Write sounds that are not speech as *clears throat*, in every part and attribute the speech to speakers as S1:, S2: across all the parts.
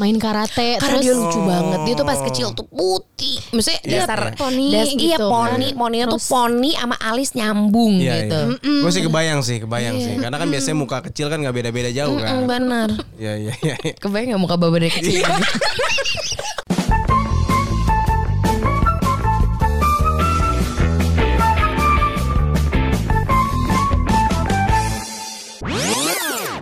S1: main karate
S2: Karena
S1: terus Oh.
S2: dia lucu banget. Dia tuh pas kecil tuh putih. Maksudnya
S1: Iya,
S2: dasar
S1: poni
S2: das- Iya,
S1: gitu.
S2: poni, poninya tuh
S1: Terus-
S2: poni sama alis nyambung
S3: Iya,
S2: gitu.
S3: iya. Gue sih kebayang sih, kebayang
S4: Iya.
S3: sih. Karena kan biasanya muka kecil kan nggak beda-beda jauh kan.
S2: Mm, benar.
S3: Iya, iya, iya.
S2: Kebayang gak muka baba dari *laughs* kecil?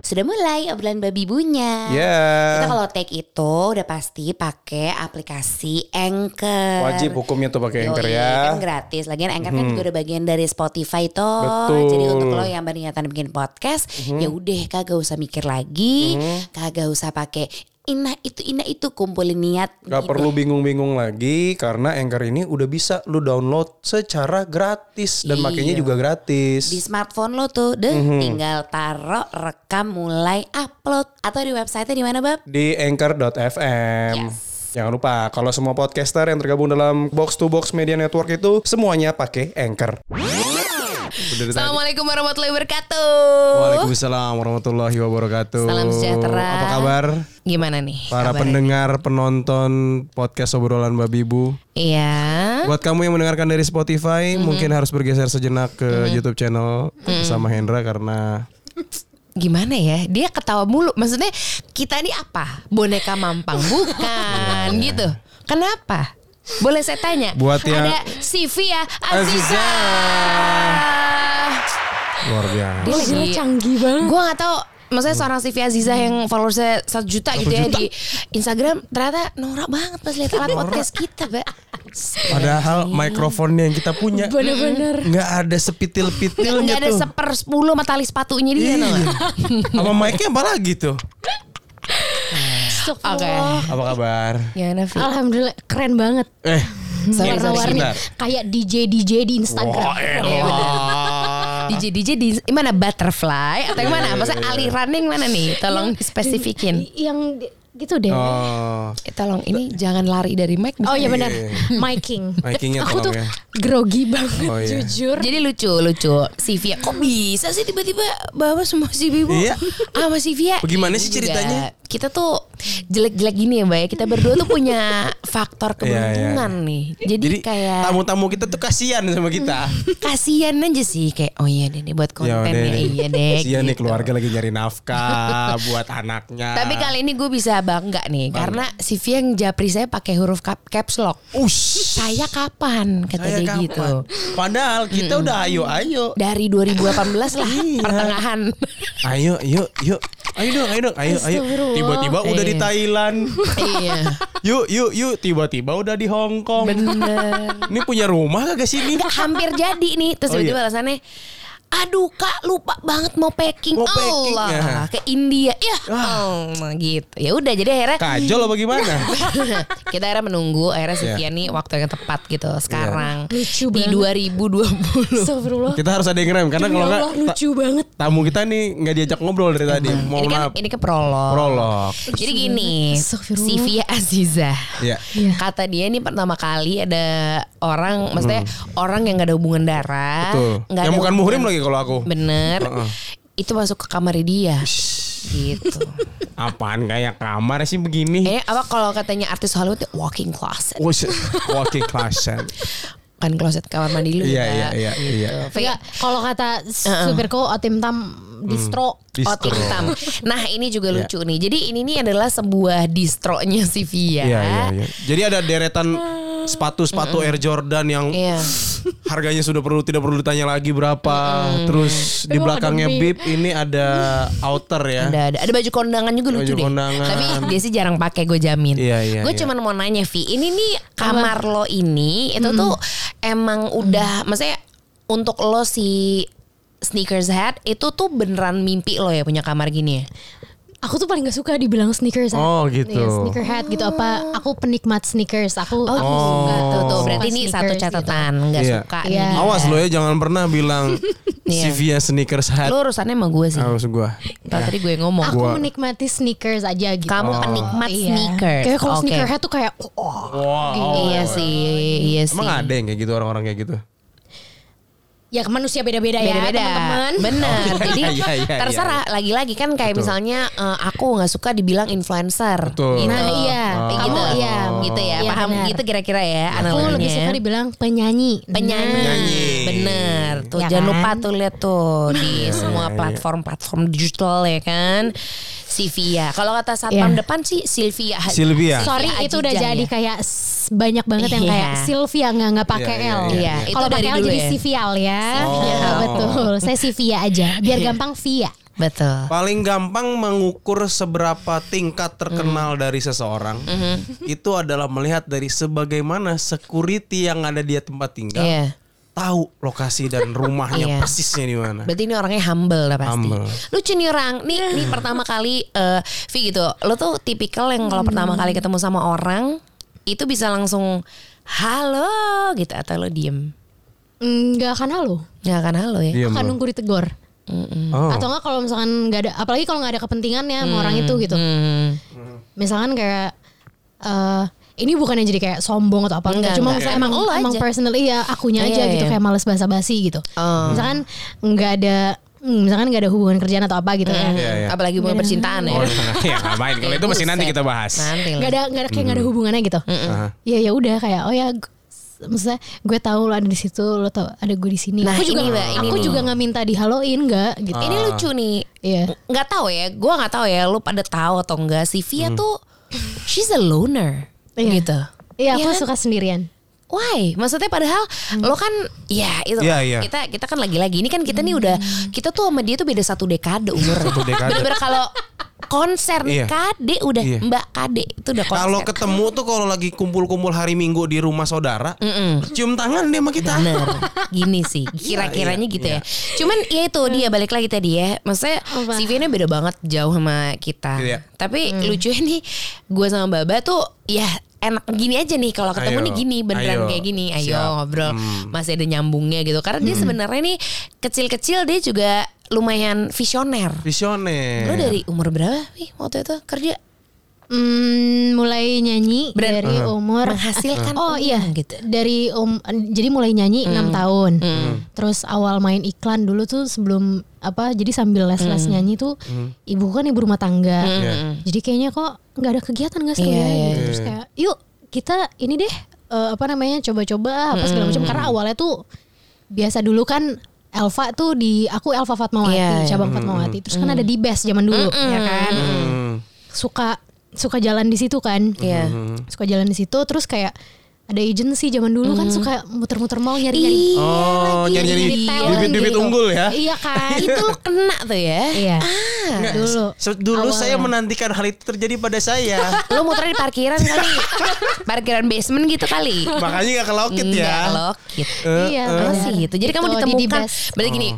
S4: Sudah mulai obrolan babi bunya.
S3: Iya.
S4: Nah, Kita kalau take itu udah pasti pakai aplikasi Anchor.
S3: Wajib hukumnya tuh pakai Anchor
S4: Yoi,
S3: ya. Hmm.
S4: Kan gratis. Lagian Anchor kan juga udah bagian dari Spotify toh.
S3: Betul. Hmm.
S4: Jadi untuk lo yang berniatan bikin podcast, ya udah kagak usah mikir lagi, kagak usah pakai ina itu ina itu kumpulin niat.
S3: Gak
S4: gitu.
S3: perlu bingung-bingung lagi karena Anchor ini udah bisa lu download secara gratis dan makainya
S4: Iya.
S3: juga gratis.
S4: di smartphone lo tuh, deh
S3: Hmm.
S4: tinggal taruh rekam mulai upload atau di website-nya di mana bab?
S3: di anchor.fm. Jangan lupa kalau semua podcaster yang tergabung dalam Box to Box Media Network itu semuanya pakai Anchor. Udah dari tadi.
S2: Assalamualaikum warahmatullahi wabarakatuh.
S3: Waalaikumsalam warahmatullahi wabarakatuh.
S2: Salam sejahtera.
S3: Apa kabar?
S2: Gimana nih?
S3: Para
S2: kabarnya?
S3: pendengar penonton podcast obrolan Babi Bu.
S2: Iya.
S3: Buat kamu yang mendengarkan dari Spotify mungkin harus bergeser sejenak ke YouTube channel sama Hendra karena
S2: Gimana ya? Dia ketawa mulu. Maksudnya kita ini apa? Boneka
S1: *laughs*
S2: mampang bukan gitu. Kenapa? Boleh saya tanya?
S3: Iya. Buat yang-
S2: Ada Sivia Aziza.
S3: Aziza. luar biasa.
S2: Dia lagi
S1: canggih banget
S2: Gue gak tahu Maksudnya seorang Sivi Aziza yang followersnya 1 juta gitu ya di Instagram Ternyata norak banget pas lihat alat podcast kita Mbak
S3: Padahal mikrofonnya yang kita punya Mhm.
S1: bener-bener
S3: nggak ada sepitil-pitilnya
S2: Gak ada
S3: tuh. Iya.
S2: seper 10 sama tali sepatunya dia tau
S3: *laughs*
S2: nggak?
S3: Sama mic-nya apa lagi tuh?
S2: Oke
S3: Apa kabar?
S2: Gimana Vi?
S1: alhamdulillah keren banget
S3: Eh,
S2: Ya, Sorry, sorry,
S1: warna-warni
S3: sebentar.
S1: kayak DJ DJ di Instagram
S2: DJ DJ di mana butterfly atau yang mana? Maksudnya alirannya yang mana nih? Tolong spesifikin.
S1: yang di- gitu deh
S3: Oh,
S2: Eh, Tolong ini jangan lari dari mic.
S1: oh iya benar miking
S3: mic-nya
S1: aku tuh
S3: tolong ya.
S1: grogi banget
S3: Oh, iya.
S1: jujur
S2: Jadi lucu lucu si Via kok bisa sih tiba-tiba bawa semua si Bibu
S3: Iya.
S2: sama si Via. Ini
S3: Bagaimana sih
S2: juga,
S3: ceritanya?
S2: Kita tuh jelek-jelek gini ya Mbak ya. Kita berdua tuh punya
S3: *laughs*
S2: faktor keberuntungan nih. Jadi,
S3: Iya, Oh. Jadi
S2: kayak
S3: tamu-tamu kita tuh kasihan sama kita.
S2: kasihan aja sih kayak oh iya deh ini buat
S3: Ya
S2: konten ya, iya deh.
S3: *laughs* Kasihan nih
S2: gitu.
S3: keluarga lagi nyari nafkah
S2: *laughs*
S3: buat anaknya.
S2: Tapi kali ini gue bisa bangga nih karena si Via yang japri saya pakai huruf cap caps lock.
S3: Ush.
S2: Saya kapan kata
S3: Saya
S2: dia
S3: kapan?
S2: gitu. Hmm.
S3: Padahal kita udah ayo ayo. Iya.
S2: Dari 2018 lah pertengahan. *laughs*
S3: Ayo, yuk, yuk. Ayo dong, ayo dong, ayo, ayo.
S1: Astagfirullah.
S3: Tiba-tiba udah di
S2: Iya. *laughs*
S3: Thailand.
S2: iya.
S3: Yuk, yuk, yuk. Tiba-tiba udah di Hong Kong.
S2: Bener.
S3: Ini punya rumah kagak sini?
S2: Nggak, hampir jadi nih terus
S3: Oh,
S2: tiba-tiba
S3: iya.
S2: alasannya aduh kak lupa banget mau packing
S3: Mau packing,
S2: Allah
S3: ya.
S2: ke India ya Allah gitu ya udah jadi akhirnya
S3: Kajol apa gimana?
S2: *laughs* kita akhirnya menunggu akhirnya si
S3: Iya.
S2: Fia nih waktu yang tepat gitu sekarang
S1: Lucu
S2: di
S1: banget.
S2: 2020
S1: Astagfirullah
S3: Kita harus ada yang ngerem karena
S1: Demi
S3: kalau
S1: Allah,
S3: nggak ta-
S1: lucu banget
S3: tamu kita nih nggak diajak ngobrol dari tadi. Mohon
S2: ini kan
S3: maaf.
S2: ini ke prolog
S3: Prolog.
S2: jadi gini
S1: Astagfirullah.
S2: si Fia Aziza
S3: Iya.
S1: Iya.
S2: Kata dia ini pertama kali ada orang, maksudnya orang yang gak ada hubungan darah,
S3: Tuh.
S2: nggak
S3: Hmm. Yang
S2: ada
S3: bukan muhrim lagi kalau aku.
S2: Bener.
S3: Oh. Heeh.
S2: Itu masuk ke kamar dia.
S3: *laughs*
S2: gitu.
S3: Apaan kayak kamar sih begini?
S2: Eh apa kalau katanya artis Hollywood walking closet.
S3: Wush, walking closet.
S2: Kan closet kamar mandi lu.
S3: Iya
S2: ya.
S3: iya iya iya.
S1: Enggak, kalau kata supirku Otim Tam
S2: Oh,
S1: distro
S3: Distro.
S2: Tintam. Nah ini
S3: Iya.
S2: juga lucu nih. Jadi ini nih adalah sebuah distronya si Via.
S3: Iya iya iya. Jadi ada deretan sepatu-sepatu Air Jordan yang
S2: Iya.
S3: harganya sudah perlu tidak perlu ditanya lagi berapa.
S2: Iya.
S3: Terus di
S1: Aduh,
S3: belakangnya
S1: aduh,
S3: bib ini ada outer ya.
S2: Ada, ada, ada baju kondangan juga lucu
S3: Baju
S2: deh.
S3: kondangan.
S2: Tapi dia sih jarang pakai gue jamin.
S3: Iya, iya,
S2: gue
S3: iya.
S2: cuman mau nanya Vi, ini nih kamar lo ini itu tuh emang udah maksudnya untuk lo si sneakers head itu tuh beneran mimpi lo ya punya kamar gini ya.
S1: Aku tuh paling gak suka dibilang sneakers
S3: Oh, gitu.
S1: Iya, Sneakerhead gitu apa Aku penikmat sneakers Aku aku suka
S2: Tuh, tuh
S1: suka
S2: berarti ini satu
S1: sneakers
S2: catatan nggak
S3: Oh. Iya.
S2: suka
S1: Iya.
S2: nih.
S3: Awas lo ya jangan pernah bilang
S2: *laughs*
S3: si
S2: Iya.
S3: Via sneakers
S2: Lo
S3: hat.
S2: urusannya sama gue sih.
S3: Harus gua.
S2: Tau tadi gue
S1: gitu.
S2: ngomong.
S1: Aku
S3: Gua- Oh.
S1: menikmati sneakers aja
S2: Oh,
S1: gitu
S2: Kamu penikmat sneakers.
S1: Kayak kalau
S2: Oke.
S1: sneakerhead tuh kayak oh, oh.
S3: Wow.
S2: Iya sih, iya sih.
S3: Emang ada yang kayak gitu orang-orang kayak gitu?
S1: ya manusia beda-beda ya
S2: beda-beda
S1: teman-teman.
S2: benar jadi
S5: Iya, iya, iya.
S2: terserah lagi-lagi kan kayak misalnya eh, aku nggak suka dibilang influencer
S5: Betul.
S2: gitu
S1: Nah, iya.
S2: Kayak
S1: Kamu
S2: gitu
S1: iya.
S2: gitu ya,
S1: Iya,
S2: paham
S1: benar.
S2: gitu kira-kira ya
S1: Aku
S2: analoginya.
S1: lebih suka dibilang penyanyi. Nah,
S2: penyanyi.
S5: Penyanyi.
S2: bener tuh
S1: Ya
S2: jangan
S1: kan?
S2: lupa tuh lihat tuh di semua platform-platform digital ya kan Sylvia kalau kata satpam
S1: Iya.
S2: depan sih Sylvia
S1: Nah,
S3: Sylvia.
S1: Sorry
S2: Sylvia
S1: itu udah
S2: Ajijah
S1: jadi
S2: ya.
S1: kayak s- banyak banget yang
S2: Iya.
S1: kayak Sylvia nggak nggak pakai
S5: Iya, Oh. iya,
S1: L.
S2: iya. Itu
S1: Kalau
S2: dari
S1: pakai L
S2: dulu
S1: jadi
S2: ya?
S1: Sivial ya. Iya, betul. Saya Sivia aja biar
S2: Iya.
S1: gampang Via.
S2: betul
S3: Paling gampang mengukur seberapa tingkat
S2: Hmm.
S3: terkenal dari seseorang itu adalah melihat dari sebagaimana security yang ada di tempat tinggal
S2: Iya.
S3: tahu lokasi
S2: Iya.
S3: dan rumahnya persisnya di mana.
S2: Berarti ini orangnya humble lah pasti.
S3: Humble.
S2: Lucu nih orang. Nih, nih pertama kali eh Vi gitu. Lo tuh tipikal yang
S1: Hmm.
S2: kalau pertama kali ketemu sama orang itu bisa langsung halo gitu atau lo diem.
S1: Enggak akan halo.
S2: Ya kan halo
S5: Iya.
S2: ya.
S1: Akan nunggu ditegor.
S5: Oh.
S1: Atau enggak kalau misalkan nggak ada apalagi kalau nggak ada kepentingannya sama orang itu gitu.
S2: Hmm.
S1: Misalkan kayak eh ini bukannya jadi kayak sombong atau apa
S2: Enggak,
S1: enggak, cuma
S2: enggak.
S1: misalnya
S2: Iya.
S1: emang
S2: Lo aja.
S1: emang personal iya akunya aja
S2: Iya,
S1: gitu
S2: iya.
S1: kayak males basa-basi gitu.
S2: Oh.
S1: Misalkan nggak ada hmm, misalkan nggak ada hubungan kerjaan atau apa
S2: Hmm,
S1: gitu ya.
S5: Iya, iya.
S2: Apalagi bukan percintaan ya.
S5: Oh,
S3: Iya,
S5: ya ngapain kalau itu masih nanti kita bahas.
S2: Nanti lah.
S1: nggak ada nggak ada kayak nggak
S2: Hmm.
S1: ada hubungannya gitu ya ya udah kayak oh ya gu- s- maksudnya gue tahu lo ada di situ lo tau ada gue di sini
S2: Nah,
S1: aku juga
S2: ini, Mbak, ini
S1: aku
S2: nih. Ah.
S1: juga nggak minta dihaloin nggak gitu
S5: Ah.
S2: Ini lucu nih.
S1: Iya.
S2: Nggak tahu ya. Gua nggak tahu ya. Lo pada tahu atau enggak sih Via
S5: Hmm.
S2: tuh she's a loner
S1: Iya.
S2: gitu.
S1: iya aku
S2: Iya kan?
S1: suka sendirian
S2: Why? Maksudnya padahal lo kan ya itu
S3: Iya, iya.
S2: kita kita kan lagi-lagi ini kan kita nih udah kita tuh sama dia tuh beda satu dekade
S3: *laughs*
S2: umurnya.
S3: Satu dekade.
S2: Bener-bener kalau konser
S3: Iya.
S2: kade udah
S3: Iya.
S2: Mbak kade itu udah konser.
S3: Kalau ketemu tuh kalau lagi kumpul-kumpul hari Minggu di rumah saudara, cium tangan dia sama kita.
S2: Mm. Bener. Gini sih
S1: Iya,
S2: Kira-kiranya gitu ya Cuman ya itu dia Balik lagi tadi ya Maksudnya
S1: Hmm. Apa? Hmm.
S2: CV-nya beda banget Jauh sama kita
S3: Iya.
S2: Tapi lucunya nih Gue sama Baba tuh Ya enak gini aja nih kalau ketemu
S3: Ayo.
S2: nih gini beneran
S3: Ayo.
S2: kayak gini ayo
S3: Siap. Hmm.
S2: ngobrol masih ada nyambungnya gitu karena dia sebenarnya nih kecil-kecil dia juga lumayan visioner
S3: Visioner.
S2: lo dari umur berapa sih waktu itu kerja
S1: Hmm, mulai nyanyi
S2: Berani.
S1: dari umur
S2: Hmm. Menghasilkan uang
S1: oh iya
S2: gitu. Hmm.
S1: dari um, jadi mulai nyanyi enam tahun terus awal main iklan dulu tuh sebelum apa jadi sambil les-les
S2: Hmm.
S1: nyanyi tuh ibu kan ibu rumah tangga
S3: Ya.
S1: jadi kayaknya kok nggak ada kegiatan nggak seru
S2: Iya,
S1: ya
S2: iya,
S1: gitu. terus kayak yuk kita ini deh eh, apa namanya coba-coba apa segala
S2: Hmm.
S1: macam karena awalnya tuh biasa dulu kan Elva tuh di aku Elva Fatmawati
S2: Iya, Hmm. iya.
S1: cabang
S3: Hmm.
S1: Fatmawati terus kan ada di best zaman dulu ya
S2: hmm,
S1: kan suka suka jalan di situ kan
S2: Iya.
S1: suka jalan di situ terus kayak ada agensi zaman dulu
S2: Hmm.
S1: kan suka muter-muter mall nyari-nyari
S3: Oh,
S1: Iya, lagi,
S3: nyari-nyari
S1: talent
S3: bibit-bibit
S1: gitu.
S3: unggul ya.
S1: iya kan
S2: itu lo kena tuh ya
S1: iya dulu
S2: gitu
S3: Se- Dulu saya
S1: Awalnya.
S3: menantikan hal itu terjadi pada
S2: *laughs*
S3: saya.
S2: lo muter di parkiran *laughs* kali parkiran basement gitu kali
S3: Makanya gak kelokit ya. eh,
S2: Nggak lokit.
S1: iya
S2: Apa
S1: benar.
S2: sih Eh. gitu. Jadi kamu
S1: Gitu, di
S2: ditemukan.
S1: Dibes.
S2: Berarti gini.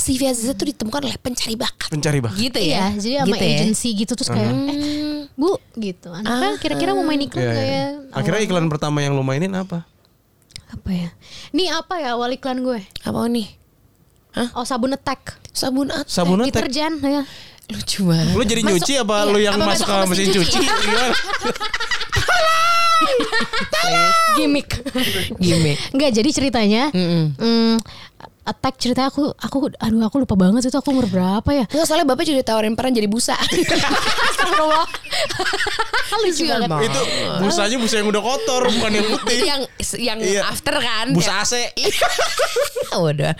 S2: Si Via Aziza tuh ditemukan oleh pencari bakat.
S3: Pencari bakat.
S2: Gitu
S1: Iya,
S2: ya.
S1: jadi sama
S2: Gitu ya.
S1: agensi gitu terus kayak eh, Bu gitu. Anaknya kira-kira mau main
S3: Hmm.
S1: iklan
S3: Iya,
S1: kayak
S3: iya. Akhirnya iklan pertama yang lo mainin apa?
S1: apa ya? Ini apa ya awal iklan gue?
S2: Apa nih?
S1: Oh, sabun attack.
S2: Sabun at
S3: Sabun attack.
S1: Deterjen ya.
S2: Lucu banget.
S3: Lo jadi nyuci apa
S2: iya,
S3: lo yang
S2: apa
S3: masuk ke mesin cuci? Iya. Gimana?
S1: Gimik. *laughs*
S2: Gimik.
S1: Enggak, jadi ceritanya
S2: Hmm.
S1: mm, attack cerita aku aku aduh aku lupa banget itu aku umur berapa
S2: *laughs*
S1: ya?
S2: Nggak, soalnya bapak juga tawarin peran jadi busa. *laughs* Astagfirullah.
S1: Lucu banget.
S3: itu busanya busa yang udah kotor bukan yang putih.
S2: yang yang
S3: Iya.
S2: after kan. "Ah,
S3: Busa AC.
S2: Waduh.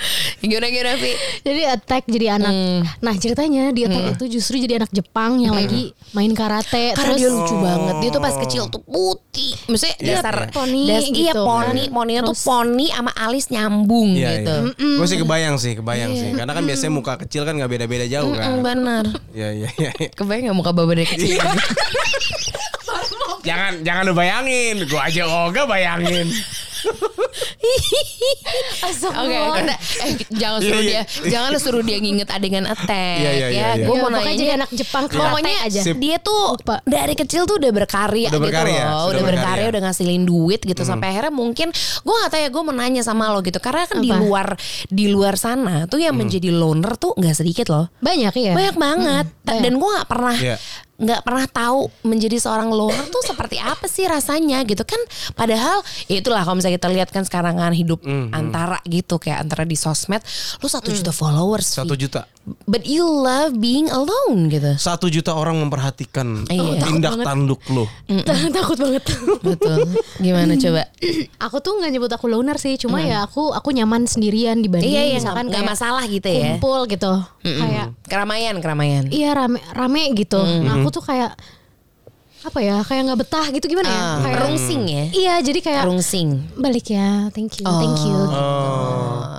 S2: Gimana gimana Vi?
S1: Jadi attack jadi anak.
S2: Hmm.
S1: Nah, ceritanya di attack itu justru jadi anak Jepang yang lagi main karate
S2: Karena
S1: terus
S2: dia lucu banget. Dia tuh pas kecil
S3: Oh.
S2: tuh putih. Maksudnya dasar
S1: Poni
S2: das- Iya,
S1: gitu.
S2: poni, poninya tuh poni sama alis nyambung
S3: Iya,
S2: gitu. Iya.
S3: iya. Gue sih kebayang sih, kebayang sih. Karena kan biasanya muka kecil kan nggak beda-beda jauh
S2: Mm,
S3: kan.
S2: Benar.
S3: Iya iya iya.
S2: Kebayang gak muka baba dari kecil? gitu?
S5: Jangan jangan lu bayangin, gua aja Oga
S2: *laughs*
S5: bayangin.
S2: *laughs* Oke,
S1: Ya,
S2: kita, eh, jangan suruh
S3: Iya, iya.
S2: dia, jangan lu suruh dia nginget adegan attack.
S3: Iya, iya, iya,
S2: ya,
S3: iya.
S2: gue
S1: Iya,
S2: mau
S1: pokoknya
S2: nanya
S1: jadi anak Jepang
S2: Pokoknya
S1: karate aja.
S2: aja. dia tuh
S1: Lupa.
S2: dari kecil tuh udah berkarya
S3: Udah berkarya,
S2: gitu loh,
S3: sudah
S2: udah berkarya,
S3: berkarya.
S2: udah ngasilin duit gitu sampai akhirnya mungkin gue gak tahu ya gue mau nanya sama lo gitu karena kan di
S1: Apa?
S2: luar di luar sana
S3: Mm.
S2: tuh yang menjadi loner tuh nggak sedikit loh.
S1: banyak ya.
S2: Banyak banget Ta-
S1: banyak.
S2: dan gue nggak pernah
S3: Iya.
S2: nggak pernah tahu menjadi seorang loner tuh seperti apa sih rasanya gitu kan padahal ya itulah kalau misalnya kita lihat kan sekarang kan hidup
S1: Mm-hmm.
S2: antara gitu kayak antara di sosmed lu
S1: Mm.
S2: satu juta followers
S3: Satu
S2: Vi.
S3: juta.
S2: but you love being alone gitu
S3: Satu juta orang memperhatikan
S2: Iya.
S3: tindak tanduk lo.
S1: *laughs* Takut banget.
S2: betul gimana
S1: Mm.
S2: coba
S1: *clears throat* aku tuh nggak nyebut aku loner sih, cuma ya aku aku nyaman sendirian dibanding
S2: iya iya
S1: misalkan
S2: nggak nggak
S1: kayak
S2: masalah gitu ya
S1: kumpul gitu. Kayak
S2: keramaian keramaian
S1: iya rame rame gitu. Nah, aku tuh kayak apa ya? Kayak nggak betah gitu gimana ya?
S2: Ah,
S1: Kayak
S2: rungsing ya
S1: Iya, jadi kayak
S2: rungsing
S1: balik ya. Thank you. Thank
S2: Oh.
S1: you. gitu.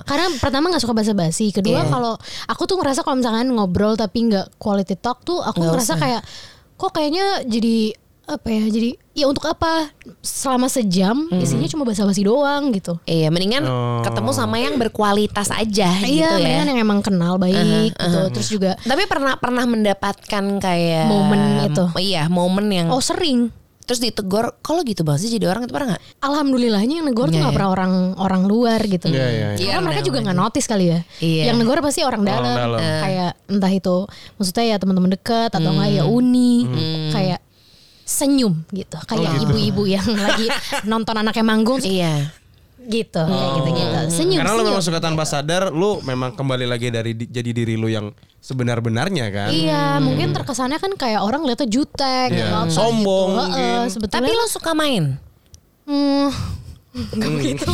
S1: Karena pertama nggak suka basa-basi,
S2: Iya.
S1: kedua kalau aku tuh ngerasa kalau misalkan ngobrol tapi nggak quality talk tuh aku
S2: Nggak
S1: ngerasa kayak kok kayaknya jadi apa ya? Jadi ya untuk apa? Selama sejam isinya cuma basa-basi doang gitu.
S2: Iya, mendingan ketemu sama yang berkualitas aja
S1: Oh. Iya,
S2: gitu ya. Uh-huh,
S1: mendingan yang emang kenal baik gitu. Terus juga
S2: Tapi pernah pernah mendapatkan kayak
S1: Momen itu.
S2: Iya, momen yang
S1: oh sering.
S2: terus ditegur, kalau gitu banget sih jadi orang itu pernah nggak?
S1: Alhamdulillahnya yang negor tuh
S2: Iya,
S1: nggak
S2: iya.
S1: pernah orang orang luar gitu.
S5: Iya, iya, iya.
S1: Karena
S2: Iya,
S1: mereka
S2: orang
S1: juga
S2: dalam
S1: nggak notice kali ya.
S2: Iya. Uh.
S1: Yang negor pasti orang dalam,
S5: dalam.
S1: kayak entah itu maksudnya ya teman-teman dekat atau nggak
S2: Hmm.
S1: ya uni, kayak senyum gitu, kayak ibu-ibu
S2: *laughs*
S1: yang lagi nonton anaknya manggung gitu,
S2: Iya. Oh.
S1: kayak gitu-gitu. Senyum,
S3: Karena lo
S1: senyum.
S3: memang suka tanpa sadar, lo memang kembali lagi dari di- jadi diri lo yang sebenar-benarnya kan.
S1: Iya,
S2: Hmm.
S1: mungkin terkesannya kan kayak orang liatnya jutek,
S3: Iya.
S1: apa
S3: Sombong
S1: Gitu. Heeh,
S3: mungkin.
S1: sebetulnya
S2: Tapi lo suka main.
S1: Hmm, nggak
S2: gitu.
S1: begitu,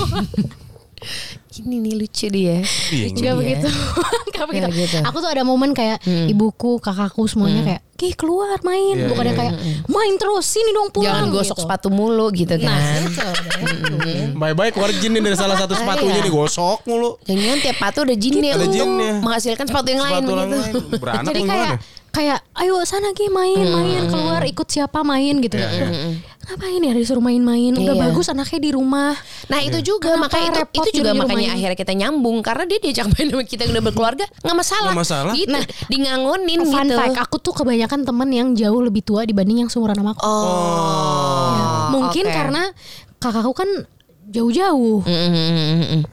S2: Ini nih lucu dia.
S3: Iya, gitu.
S1: nggak begitu, *laughs* nggak begitu.
S2: Nggak Iya. gitu. Hmm.
S1: Aku tuh ada momen kayak ibuku, kakakku semuanya kayak, "Ki keluar main,"
S3: Iya,
S1: bukan yang
S3: iya.
S1: kayak main terus sini dong
S2: Jangan
S1: pulang.
S2: gosok
S1: gitu.
S2: sepatu mulu gitu
S1: Nah,
S2: kan.
S1: itu
S2: *laughs*
S1: deh.
S3: Bye-bye keluar jin nih dari salah satu sepatunya
S2: Iya.
S3: digosok mulu.
S2: Jangan tiap sepatu ada jinnya
S3: Ada
S2: untuk
S3: jinnya.
S2: menghasilkan sepatu yang lain gitu.
S3: Sepatu orang
S2: begitu.
S3: lain. Beranak
S1: Jadi
S3: lo
S1: kayak
S3: gimana?
S1: kayak ayo sana Ki main main keluar ikut siapa main gitu.
S5: Iya, iya.
S1: Ngapain ya disuruh main-main? Udah
S2: Iya.
S1: bagus anaknya di rumah.
S2: Nah itu
S3: Iya.
S2: juga
S1: Kenapa
S2: makanya itu,
S1: repot
S2: itu juga
S1: jadi di
S2: makanya
S1: rumah ini?
S2: akhirnya kita nyambung karena dia diajak main sama kita yang udah berkeluarga nggak masalah.
S3: Nggak masalah.
S2: Gitu. Nah, dingangonin
S1: Fun
S2: gitu.
S1: fact, aku tuh kebanyakan temen yang jauh lebih tua dibanding yang seumuran sama aku.
S2: Oh.
S1: Ya, Mungkin
S2: oke.
S1: karena kakakku kan jauh-jauh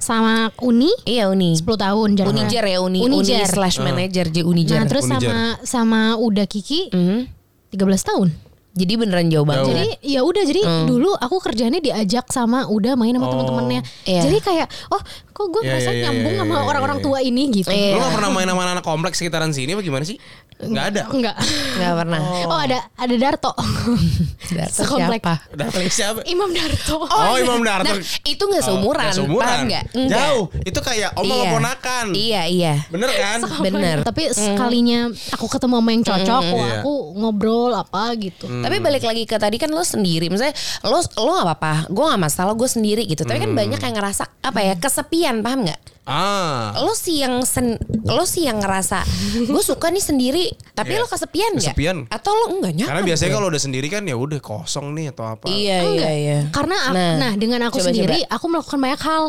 S1: sama Uni
S2: Iya Uni.
S1: 10 tahun jaraknya.
S2: Unijer ya Uni.
S1: Unijer.
S2: Uni slash
S3: Ah.
S2: manager jadi Unijer. Mhm.
S1: Nah,
S5: Oh,
S1: terus
S3: Unijer.
S1: sama sama Uda Kiki 13 tahun.
S2: Jadi beneran
S5: Oh.
S2: jauh banget.
S1: Jadi ya udah jadi
S2: Oh.
S1: dulu aku kerjanya diajak sama udah main sama teman-temannya.
S2: Iya.
S1: Jadi kayak oh kok
S5: Oh.
S1: gue
S5: Iya,
S1: merasa
S5: iya, iya,
S1: nyambung
S5: iya,
S1: sama
S5: iya, iya,
S1: orang-orang tua ini gitu.
S2: Iya.
S3: Lo gak pernah main sama anak-anak kompleks sekitaran sini apa gimana sih? Gak ada.
S1: *laughs* Enggak.
S2: Nggak pernah.
S1: Oh ada ada Darto.
S2: *laughs* Darto
S1: Sekomplek.
S2: siapa?
S3: Datang siapa?
S1: Imam Darto. Iya.
S3: Oh, Imam Darto.
S2: Nah, itu nggak seumuran,
S3: Oh, Nggak seumuran.
S2: paham nggak? Nggak.
S3: Jauh. Itu kayak om sama
S2: Iya.
S3: ponakan.
S2: Iya iya.
S3: Bener
S2: *laughs*
S3: kan?
S2: Bener. Hmm.
S1: Tapi sekalinya aku ketemu sama yang cocok, wah,
S3: Iya.
S1: aku ngobrol apa gitu.
S2: Tapi
S3: Hmm.
S2: balik lagi ke tadi kan lo sendiri, misalnya lo lo nggak apa-apa, gue nggak masalah, gue sendiri gitu. Tapi kan
S3: Hmm.
S2: banyak yang ngerasa apa ya kesepian, paham nggak?
S3: Ah.
S2: Lo sih yang sen, lo sih yang ngerasa gue suka nih sendiri, tapi lo
S3: Iya.
S2: kesepian nggak?
S3: Kesepian.
S2: Atau lo enggak nyaman?
S3: Karena biasanya
S2: gue?
S3: kalau udah sendiri kan ya udah kosong nih atau apa.
S2: iya iya iya.
S1: Karena aku- nah, dengan aku
S2: coba,
S1: sendiri aku melakukan banyak hal.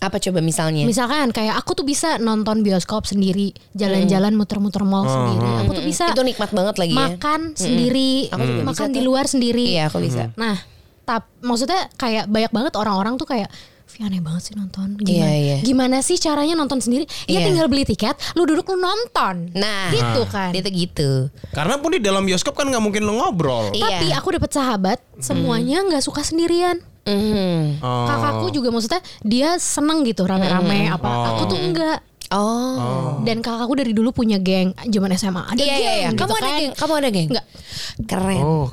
S2: apa coba misalnya?
S1: Misalkan kayak aku tuh bisa nonton bioskop sendiri, jalan-jalan muter-muter mall sendiri. Aku tuh bisa
S2: Hmm. itu nikmat banget lagi ya.
S1: makan sendiri,
S2: juga
S1: makan
S2: bisa
S1: di
S2: tuh.
S1: luar sendiri.
S2: Iya aku bisa.
S3: Hmm.
S1: Nah, tap maksudnya kayak banyak banget orang-orang tuh kayak "Vi, aneh banget sih nonton. Gimana,
S2: Iya, iya.
S1: gimana sih caranya nonton sendiri? Ya
S2: Iya.
S1: tinggal beli tiket, lu duduk lu nonton.
S2: Nah,
S1: gitu kan.
S2: Dia tuh gitu.
S3: Karena pun di dalam bioskop kan nggak mungkin lo ngobrol.
S2: Iya. Hmm.
S1: Tapi aku dapet sahabat semuanya nggak suka sendirian.
S2: Mhm.
S3: Oh.
S1: Kakakku juga maksudnya dia seneng gitu rame-rame
S2: Hmm.
S1: apa. Aku tuh enggak.
S2: Oh.
S1: Dan kakakku dari dulu punya geng zaman SMA. Ada
S2: Iya,
S1: geng
S2: iya, iya.
S1: gitu
S2: Kamu ada
S1: kan.
S2: geng, kamu ada geng.
S1: Enggak.
S2: Keren.
S3: Oh.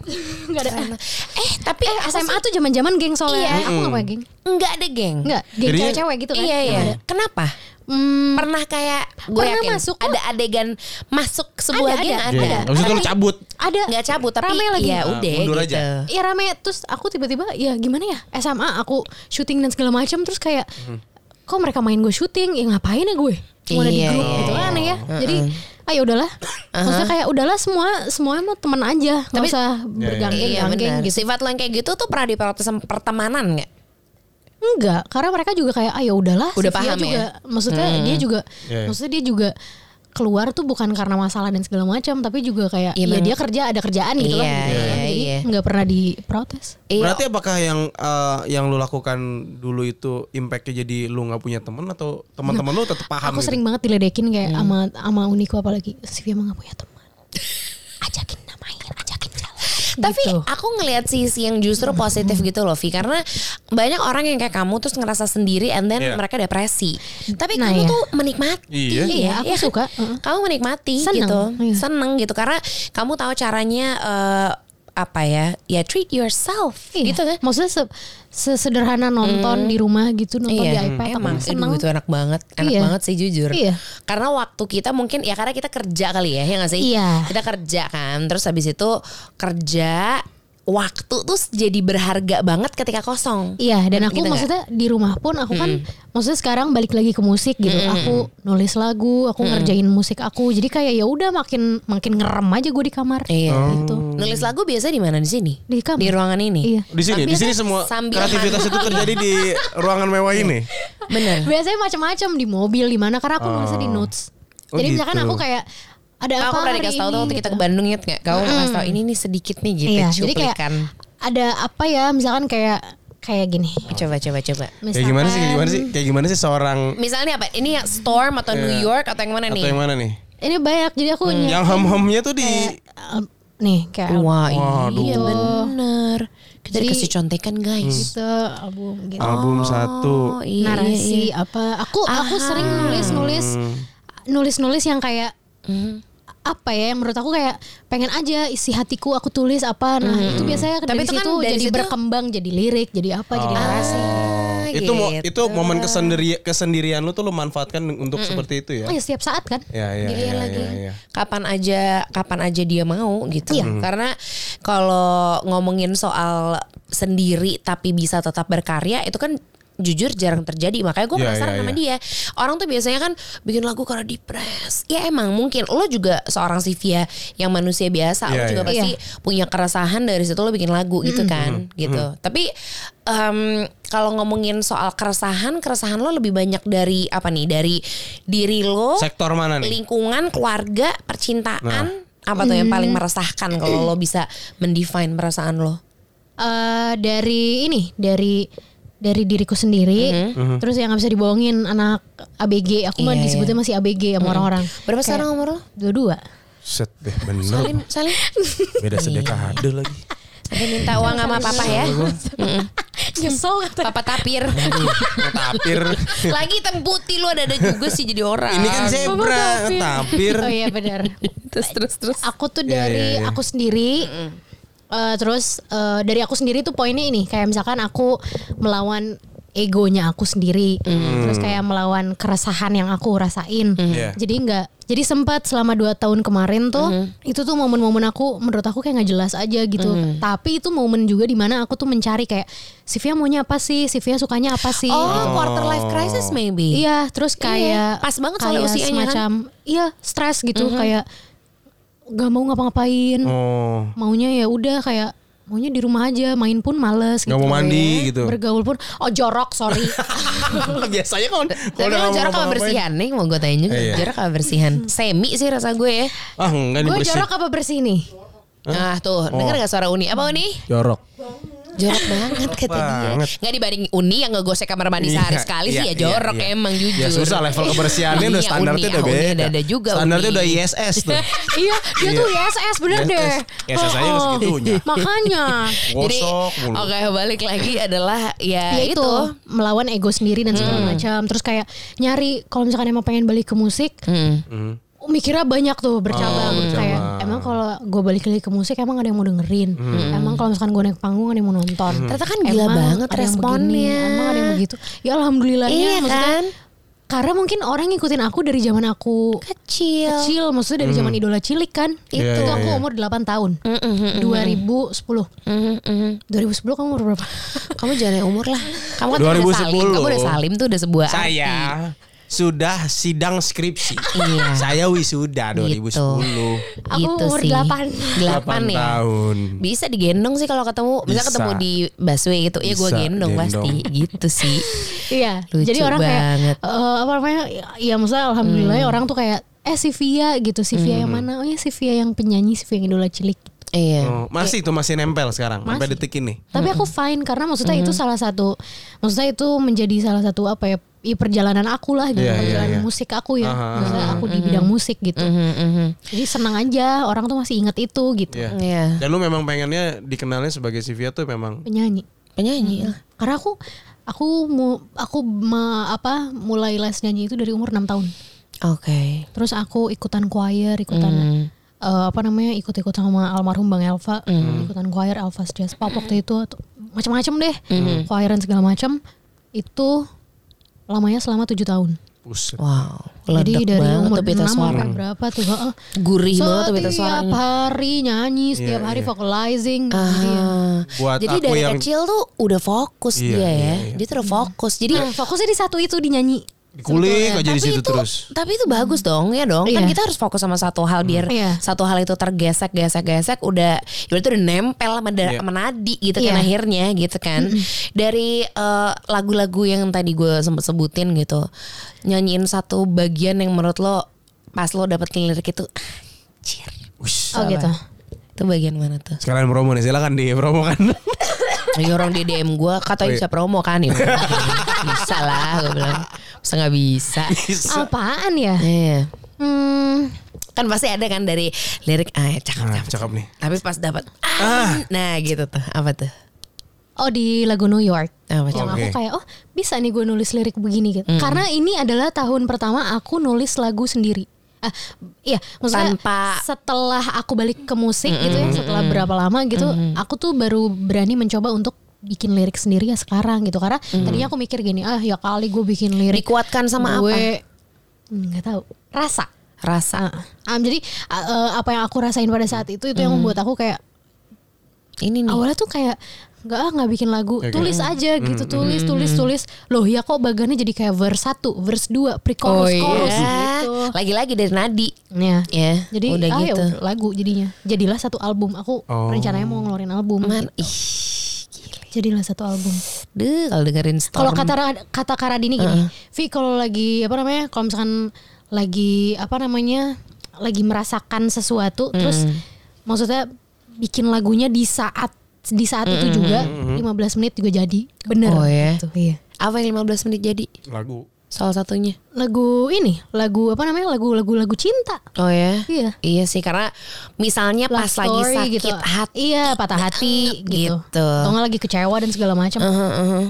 S1: Enggak ada.
S2: *laughs* Eh, tapi
S1: Eh, SMA tuh zaman-zaman geng soalnya.
S2: Iya.
S1: Aku enggak punya geng.
S2: enggak ada geng.
S1: Enggak, geng
S3: Jadinya-
S1: cewek-cewek gitu kan.
S2: Iya, iya.
S1: Nggak ada.
S2: Kenapa?
S1: Hmm,
S2: Pernah kayak gue
S1: Pernah
S2: yakin
S1: masuk kok.
S2: ada adegan masuk sebuah
S1: Ada,
S2: geng
S1: ada,
S2: ada.
S1: ada.
S3: Habis itu lo cabut.
S1: ada
S2: Enggak cabut tapi
S1: Rame lagi.
S2: ya
S3: Ah,
S2: udah
S3: mundur
S2: gitu.
S3: aja.
S1: Iya rame terus aku tiba-tiba ya gimana ya SMA aku syuting dan segala macam terus kayak kok mereka main gue syuting ya ngapain ya gue cuma ada di
S2: Iya,
S1: grup
S2: iya,
S1: gitu
S2: iya.
S1: aneh ya jadi ayo udahlah maksudnya kayak udahlah semua semua emang teman aja nggak
S2: Tapi-
S1: usah berganggeng
S2: Iya,
S1: ganggeng
S2: benar.
S1: gitu
S2: Sifat lo yang kayak gitu tuh pernah diperhatiin sama pertemanan enggak?
S1: enggak karena mereka juga kayak ayo udahlah
S2: Udah
S1: Sylvia
S2: paham ya?
S1: juga maksudnya dia juga
S5: Iya, iya.
S1: maksudnya dia juga keluar tuh bukan karena masalah dan segala macam tapi juga kayak
S2: Iya,
S1: ya,
S2: memang.
S1: dia kerja ada kerjaan gitu
S2: Iya,
S1: kan gitu
S2: iya,
S1: kan. jadi
S2: iya.
S1: nggak pernah diprotes
S2: Iya.
S3: Berarti apakah yang eh, yang lu lakukan dulu itu impactnya jadi lu nggak punya temen atau teman-teman
S2: Nah,
S3: lu tetap paham?
S1: aku
S3: gitu?
S1: sering banget
S2: Hmm.
S1: diledekin kayak sama sama Uniku apalagi Sylvia emang gak punya teman *laughs* ajakin namain ajakin
S2: Tapi
S1: Gitu.
S2: aku ngelihat sisi yang justru positif gitu loh Vi karena banyak orang yang kayak kamu terus ngerasa sendiri and then
S3: Iya.
S2: mereka depresi. Tapi
S1: Nah,
S2: kamu
S1: ya.
S2: tuh menikmati.
S3: Iya.
S1: Iya, aku
S2: kan?
S1: suka. Heeh.
S2: Kamu menikmati
S1: Seneng,
S2: gitu.
S1: iya.
S2: Seneng gitu karena kamu tahu caranya eh, apa ya? Ya treat yourself
S1: Iya.
S2: gitu kan. Hmm.
S1: Maksudnya se- sesederhana nonton di rumah gitu nonton di iPad
S2: Iya. emang
S1: aku seneng.
S2: Aduh, itu enak banget, enak
S1: Iya.
S2: banget sih jujur.
S1: Iya.
S2: Karena waktu kita mungkin ya karena kita kerja kali ya, ya nggak sih?
S1: Iya.
S2: Kita kerja kan, terus habis itu kerja waktu tuh jadi berharga banget ketika kosong.
S1: Iya, dan
S2: Gitu nggak?
S1: aku
S2: Hmm.
S1: maksudnya di rumah pun aku kan maksudnya sekarang balik lagi ke musik gitu. Aku nulis lagu,
S2: Hmm.
S1: aku ngerjain musik aku. Jadi kayak ya udah makin makin ngerem aja gue di kamar.
S2: Iya.
S1: Gitu.
S3: Oh.
S2: Nulis lagu biasa di mana di sini?
S1: Di kamar.
S2: ruangan ini.
S1: Iya.
S3: Di sini,
S2: Tapi
S3: di sini
S2: ada
S3: semua
S2: sambil
S3: kreativitas
S2: *laughs* mandi.
S3: itu terjadi di ruangan mewah ini.
S2: Bener.
S1: Biasanya macam-macam di mobil di mana karena aku nulisnya di notes.
S3: Oh,
S1: Jadi
S3: gitu.
S1: misalkan aku kayak ada apa
S2: Aku pernah
S1: hari
S2: dikasih tahu tuh
S1: ini
S2: waktu kita
S1: gitu.
S2: ke Bandung ya, nggak? Kamu ngasih tahu ini nih sedikit nih gitu
S1: Iya, jadi kayak
S2: cuplikan.
S1: ada apa ya misalkan kayak kayak gini.
S2: Coba coba coba.
S1: Misalkan,
S3: Kayak Ya, gimana sih? Kayak gimana sih? Kayak gimana sih seorang
S2: Misalnya apa? Ini yang Storm atau New
S3: Iya.
S2: York atau yang mana
S3: atau
S2: nih? Iya.
S3: yang mana nih?
S1: Ini banyak jadi aku nyiapin
S3: Yang hem-hemnya tuh di
S1: kayak, um, nih kayak
S2: Wah,
S3: Waduh. Hmm.
S2: iya bener. Kita
S1: Jadi-
S2: kasih contekan guys.
S1: gitu album gitu.
S3: album
S2: Oh,
S3: satu.
S2: iya, iya,
S1: narasi
S2: iya.
S1: apa aku aku sering nulis nulis nulis nulis yang kayak
S2: Hmm.
S1: apa ya yang menurut aku kayak pengen aja isi hatiku aku tulis apa nah itu biasanya
S2: Tapi
S1: dari
S2: itu kan
S1: situ
S2: dari
S1: jadi
S2: situ-
S1: berkembang jadi lirik jadi apa jadi narasi
S3: Oh, itu mo-
S2: gitu.
S3: itu momen kesendiri kesendirian lu tuh lu manfaatkan untuk seperti itu ya.
S1: oh ya setiap saat kan
S3: Ya ya
S2: Giliran
S3: ya
S2: iya. lagi.
S3: ya. ya. Hmm.
S2: Kapan aja kapan aja dia mau gitu. Karena kalau ngomongin soal sendiri tapi bisa tetap berkarya itu kan jujur jarang terjadi makanya gue
S3: Iya,
S2: penasaran
S3: iya,
S2: sama
S3: iya.
S2: dia orang tuh biasanya kan bikin lagu karena depres ya emang mungkin lo juga seorang Sivia yang manusia biasa
S3: Iya,
S2: lo juga
S3: iya.
S2: pasti punya keresahan dari situ lo bikin lagu gitu kan
S3: Hmm.
S2: gitu tapi em, kalau ngomongin soal keresahan keresahan lo lebih banyak dari apa nih dari diri lo
S3: Sektor mana nih? Nah.
S2: lingkungan, keluarga, percintaan, apa tuh yang paling meresahkan kalau lo bisa mendefine perasaan lo?
S1: Eh, dari ini dari dari diriku sendiri terus yang nggak bisa dibohongin anak ABG aku mah
S2: Hmm. Iya,
S1: disebutnya masih ABG sama orang-orang
S2: Berapa
S1: Kayak
S2: sekarang umur lo?
S1: dua dua
S3: Set deh bener.
S2: Salin, salin.
S3: Beda
S2: Iya.
S3: sedekah ada lagi.
S2: Ada minta uang sama papa ya.
S1: *laughs* nyesel
S2: *laughs* Papa tapir.
S3: Tapir.
S2: *laughs* Lagi hitam putih lo ada ada juga sih jadi orang.
S3: Ini kan zebra, tapir.
S1: oh iya benar
S2: terus terus terus.
S1: aku tuh
S3: Iya,
S1: dari
S3: iya, iya.
S1: aku sendiri eh, terus eh, dari aku sendiri tuh poinnya ini kayak misalkan aku melawan egonya aku sendiri terus kayak melawan keresahan yang aku rasain
S3: Iya.
S1: jadi nggak jadi sempat selama dua tahun kemarin tuh itu tuh momen-momen aku menurut aku kayak nggak jelas aja gitu tapi itu momen juga dimana aku tuh mencari kayak Sivia maunya apa sih Sivia sukanya apa sih
S2: Oh, quarter life crisis maybe.
S1: Iya, terus
S2: Iya,
S1: kayak
S2: pas banget soalnya
S1: kayak
S2: usianya kan. Mm-hmm.
S1: semacam iya, stres gitu kayak gak mau ngapa-ngapain.
S3: Oh,
S1: Maunya ya udah kayak maunya di rumah aja, main pun males gitu.
S3: nggak mau mandi gitu.
S1: Bergaul pun oh jorok,
S3: *laughs*
S1: sorry.
S3: *laughs* Biasanya kalau
S2: Tapi lo
S3: nggak
S2: jarak
S3: mau
S2: apa
S3: ngapa-ngapain.
S2: bersihan nih mau gue tanya juga.
S3: Iya.
S2: Jarak apa bersihan? Semi sih rasa gue ya.
S3: Ah, enggak nih
S1: Gue
S3: bersih.
S1: jorok apa bersih nih?
S2: Ah
S3: Oh.
S2: tuh, denger gak suara Uni? Apa Uni?
S3: Jorok.
S2: Jorok Hmm. banget kata dia.
S3: banget.
S2: Nggak dibanding Uni yang ngegosek kamar mandi
S3: Iya,
S2: sehari ya. sekali sih
S3: iya,
S2: ya jorok
S3: iya, iya.
S2: emang jujur.
S3: Ya susah level kebersihannya udah
S2: Iya,
S3: standarnya
S2: Uni,
S3: udah
S2: ah, Uni
S3: beda.
S2: ada- ada juga,
S3: standarnya
S2: Uni.
S3: udah ISS
S2: *laughs*
S3: tuh.
S1: iya, dia tuh ISS bener
S3: ISS.
S1: deh.
S3: ISS aja nggak
S1: Oh, oh.
S3: segitunya.
S1: *laughs* Makanya
S2: Jadi,
S3: Gosok
S2: oke
S3: mulu.
S2: balik lagi adalah ya,
S1: ya
S2: itu.
S1: itu melawan ego sendiri dan segala
S3: Hmm.
S1: macam. Terus kayak nyari kalau misalkan emang pengen balik ke musik,
S2: Hmm.
S1: Oh, mikirnya banyak tuh bercabang,
S3: Oh, bercabang. Hmm.
S1: kayak emang kalau gue balik lagi ke musik emang ada yang mau dengerin emang kalau misalkan gue naik panggung ada yang mau nonton
S2: Ternyata kan gila
S1: Emang
S2: banget
S1: ada yang
S2: responnya.
S1: begini, emang ada yang begitu ya alhamdulillahnya
S2: Iya
S1: maksudnya
S2: kan?
S1: karena mungkin orang ngikutin aku dari zaman aku
S2: Kecil.
S1: kecil maksudnya dari zaman idola cilik kan
S3: Hmm.
S1: itu
S3: Iya, iya,
S1: aku
S3: iya.
S1: umur 8 tahun 2010
S2: Mm, mm.
S1: 2010 kamu umur berapa
S2: Kamu jangan yang umur lah. Kamu kan udah salim.
S3: 2010.
S2: Kamu udah salim tuh udah sebuah
S3: Saya sudah sidang skripsi.
S2: Iya.
S3: Saya wisuda 2010.
S2: Gitu.
S1: Aku
S2: Gitu
S1: umur
S2: sih.
S1: delapan.
S2: Delapan
S3: Delapan
S2: ya.
S3: tahun.
S2: Bisa digendong sih kalau ketemu. Bisa,
S3: Bisa.
S2: ketemu di busway gitu. Ya gue
S3: Bisa
S2: gendong, pasti.
S3: gendong.
S2: Gitu sih.
S1: Iya.
S2: Lucu
S1: jadi orang
S2: banget. Hmm.
S1: kayak eh, apa namanya? Ya maksudnya alhamdulillah ya orang tuh kayak eh si Via gitu, si Via yang mana? Oh ya si Via yang penyanyi, si Via yang idola cilik.
S2: Iya.
S3: Oh, masih itu masih nempel sekarang sampai
S1: Masih.
S3: detik ini.
S2: Hmm.
S1: Tapi aku fine karena maksudnya itu salah satu maksudnya itu menjadi salah satu apa ya? ya perjalanan aku lah gitu,
S3: Iya, iya,
S1: perjalanan
S3: iya.
S1: musik aku ya,
S3: Aha.
S1: maksudnya aku di bidang musik gitu.
S2: Mhm, mhm.
S1: Jadi senang aja orang tuh masih inget itu gitu.
S3: Iya.
S2: Iya.
S3: Dan lu memang pengennya dikenalnya sebagai Sylvia tuh memang
S1: Penyanyi.
S2: Penyanyi.
S1: Karena aku aku mu, aku me- apa mulai les nyanyi itu dari umur 6 tahun.
S2: Oke. Hmm.
S1: Terus aku ikutan choir, ikutan eh, apa namanya? ikut-ikut sama almarhum Bang Elva,
S2: Hmm.
S1: ikutan choir Elva's Jazz Pop waktu itu atau- macam-macam deh.
S2: Hmm.
S1: Choir dan segala macam itu lamanya selama tujuh tahun.
S3: push.
S2: Wow.
S1: Jadi
S2: Ledak
S1: dari
S2: banget
S1: umur
S2: tuh pita
S1: 6
S2: suara.
S1: sampai berapa tuh? heeh.
S2: Gurih banget tuh pita suara.
S1: Setiap hari nyanyi, setiap
S3: Iya,
S1: hari
S3: iya.
S1: vocalizing.
S2: Ah.
S1: Jadi ya.
S3: Buat
S2: Jadi
S3: aku
S2: dari
S3: yang
S2: kecil tuh udah fokus
S3: Iya,
S2: dia ya.
S3: iya, iya.
S2: Dia tuh udah fokus. Jadi
S1: Nah, fokusnya di satu itu dinyanyi.
S3: dikulik aja di
S2: itu
S3: situ terus.
S2: tapi itu bagus dong ya dong kan
S1: Iya.
S2: kita harus fokus sama satu hal biar
S1: Iya.
S2: satu hal itu tergesek gesek gesek udah ya itu udah nempel sama, da- sama nadi gitu kan
S1: Iya.
S2: akhirnya gitu kan dari eh, lagu-lagu yang tadi gue sempet sebutin gitu nyanyiin satu bagian yang menurut lo pas lo dapet lirik itu anjir
S3: Wush.
S1: Oh
S2: Apa?
S1: gitu.
S2: itu bagian mana tuh
S3: Sekalian promo nih, silakan di promo kan.
S2: Ya orang di DM gue kata bisa promo kan ya. *laughs* bisa lah gue bilang. Bisa nggak bisa.
S1: Apaan ya?
S2: Iya.
S1: Hmm,
S2: kan pasti ada kan dari lirik ah cakep
S3: Nah,
S2: cakep
S3: cakep nih.
S2: tapi pas dapat ah, nah gitu tuh apa tuh
S1: oh di lagu New York.
S2: apa
S1: Yang
S2: cakep
S1: aku
S3: Oke.
S1: kayak oh bisa nih gue nulis lirik begini gitu. Karena ini adalah tahun pertama aku nulis lagu sendiri. Ah, iya, maksudnya
S2: Tanpa-
S1: setelah aku balik ke musik gitu ya, setelah berapa lama gitu, aku tuh baru berani mencoba untuk bikin lirik sendiri ya sekarang gitu. Karena tadinya aku mikir gini, ah ya kali gue bikin
S2: Oh.
S1: lirik
S2: dikuatkan sama apa
S1: gue Hmm, nggak tahu rasa
S2: rasa
S1: Am, jadi a- eh, apa yang aku rasain pada saat itu itu yang membuat aku kayak
S2: ini nih
S1: awalnya tuh kayak nggak ah nggak bikin lagu tulis aja gitu tulis tulis tulis loh ya kok bagannya jadi kayak verse 1 verse 2 pre chorus
S2: iya.
S1: chorus gitu
S2: Oh, lagi-lagi dari nadi
S1: ya
S2: ya
S1: jadi
S2: udah
S1: ah, ya
S2: gitu
S1: udah, lagu jadinya jadilah satu album aku
S3: Oh.
S1: rencananya mau ngeluarin album
S2: man ih
S1: jadilah satu album
S2: deh kalau dengerin
S1: kalau
S2: storm
S1: kata Ra- kata Karadini gini Vi kalau lagi apa namanya kalau misalkan lagi apa namanya lagi merasakan
S2: Hmm.
S1: sesuatu terus maksudnya bikin lagunya di saat di saat itu juga 15 menit juga jadi bener
S2: Hmm, Oh, ya.
S1: gitu. iya
S2: apa yang 15 menit jadi
S3: Lagu.
S2: salah satunya
S1: lagu ini lagu apa namanya lagu lagu lagu cinta
S2: oh ya
S1: Iya.
S2: iya sih karena misalnya
S1: Love
S2: pas lagi
S1: story
S2: sakit
S1: gitu.
S2: hati
S1: iya patah hati
S2: *laughs*
S1: gitu,
S2: Gitu.
S1: atau nggak lagi kecewa dan segala macam
S2: Heeh, heeh.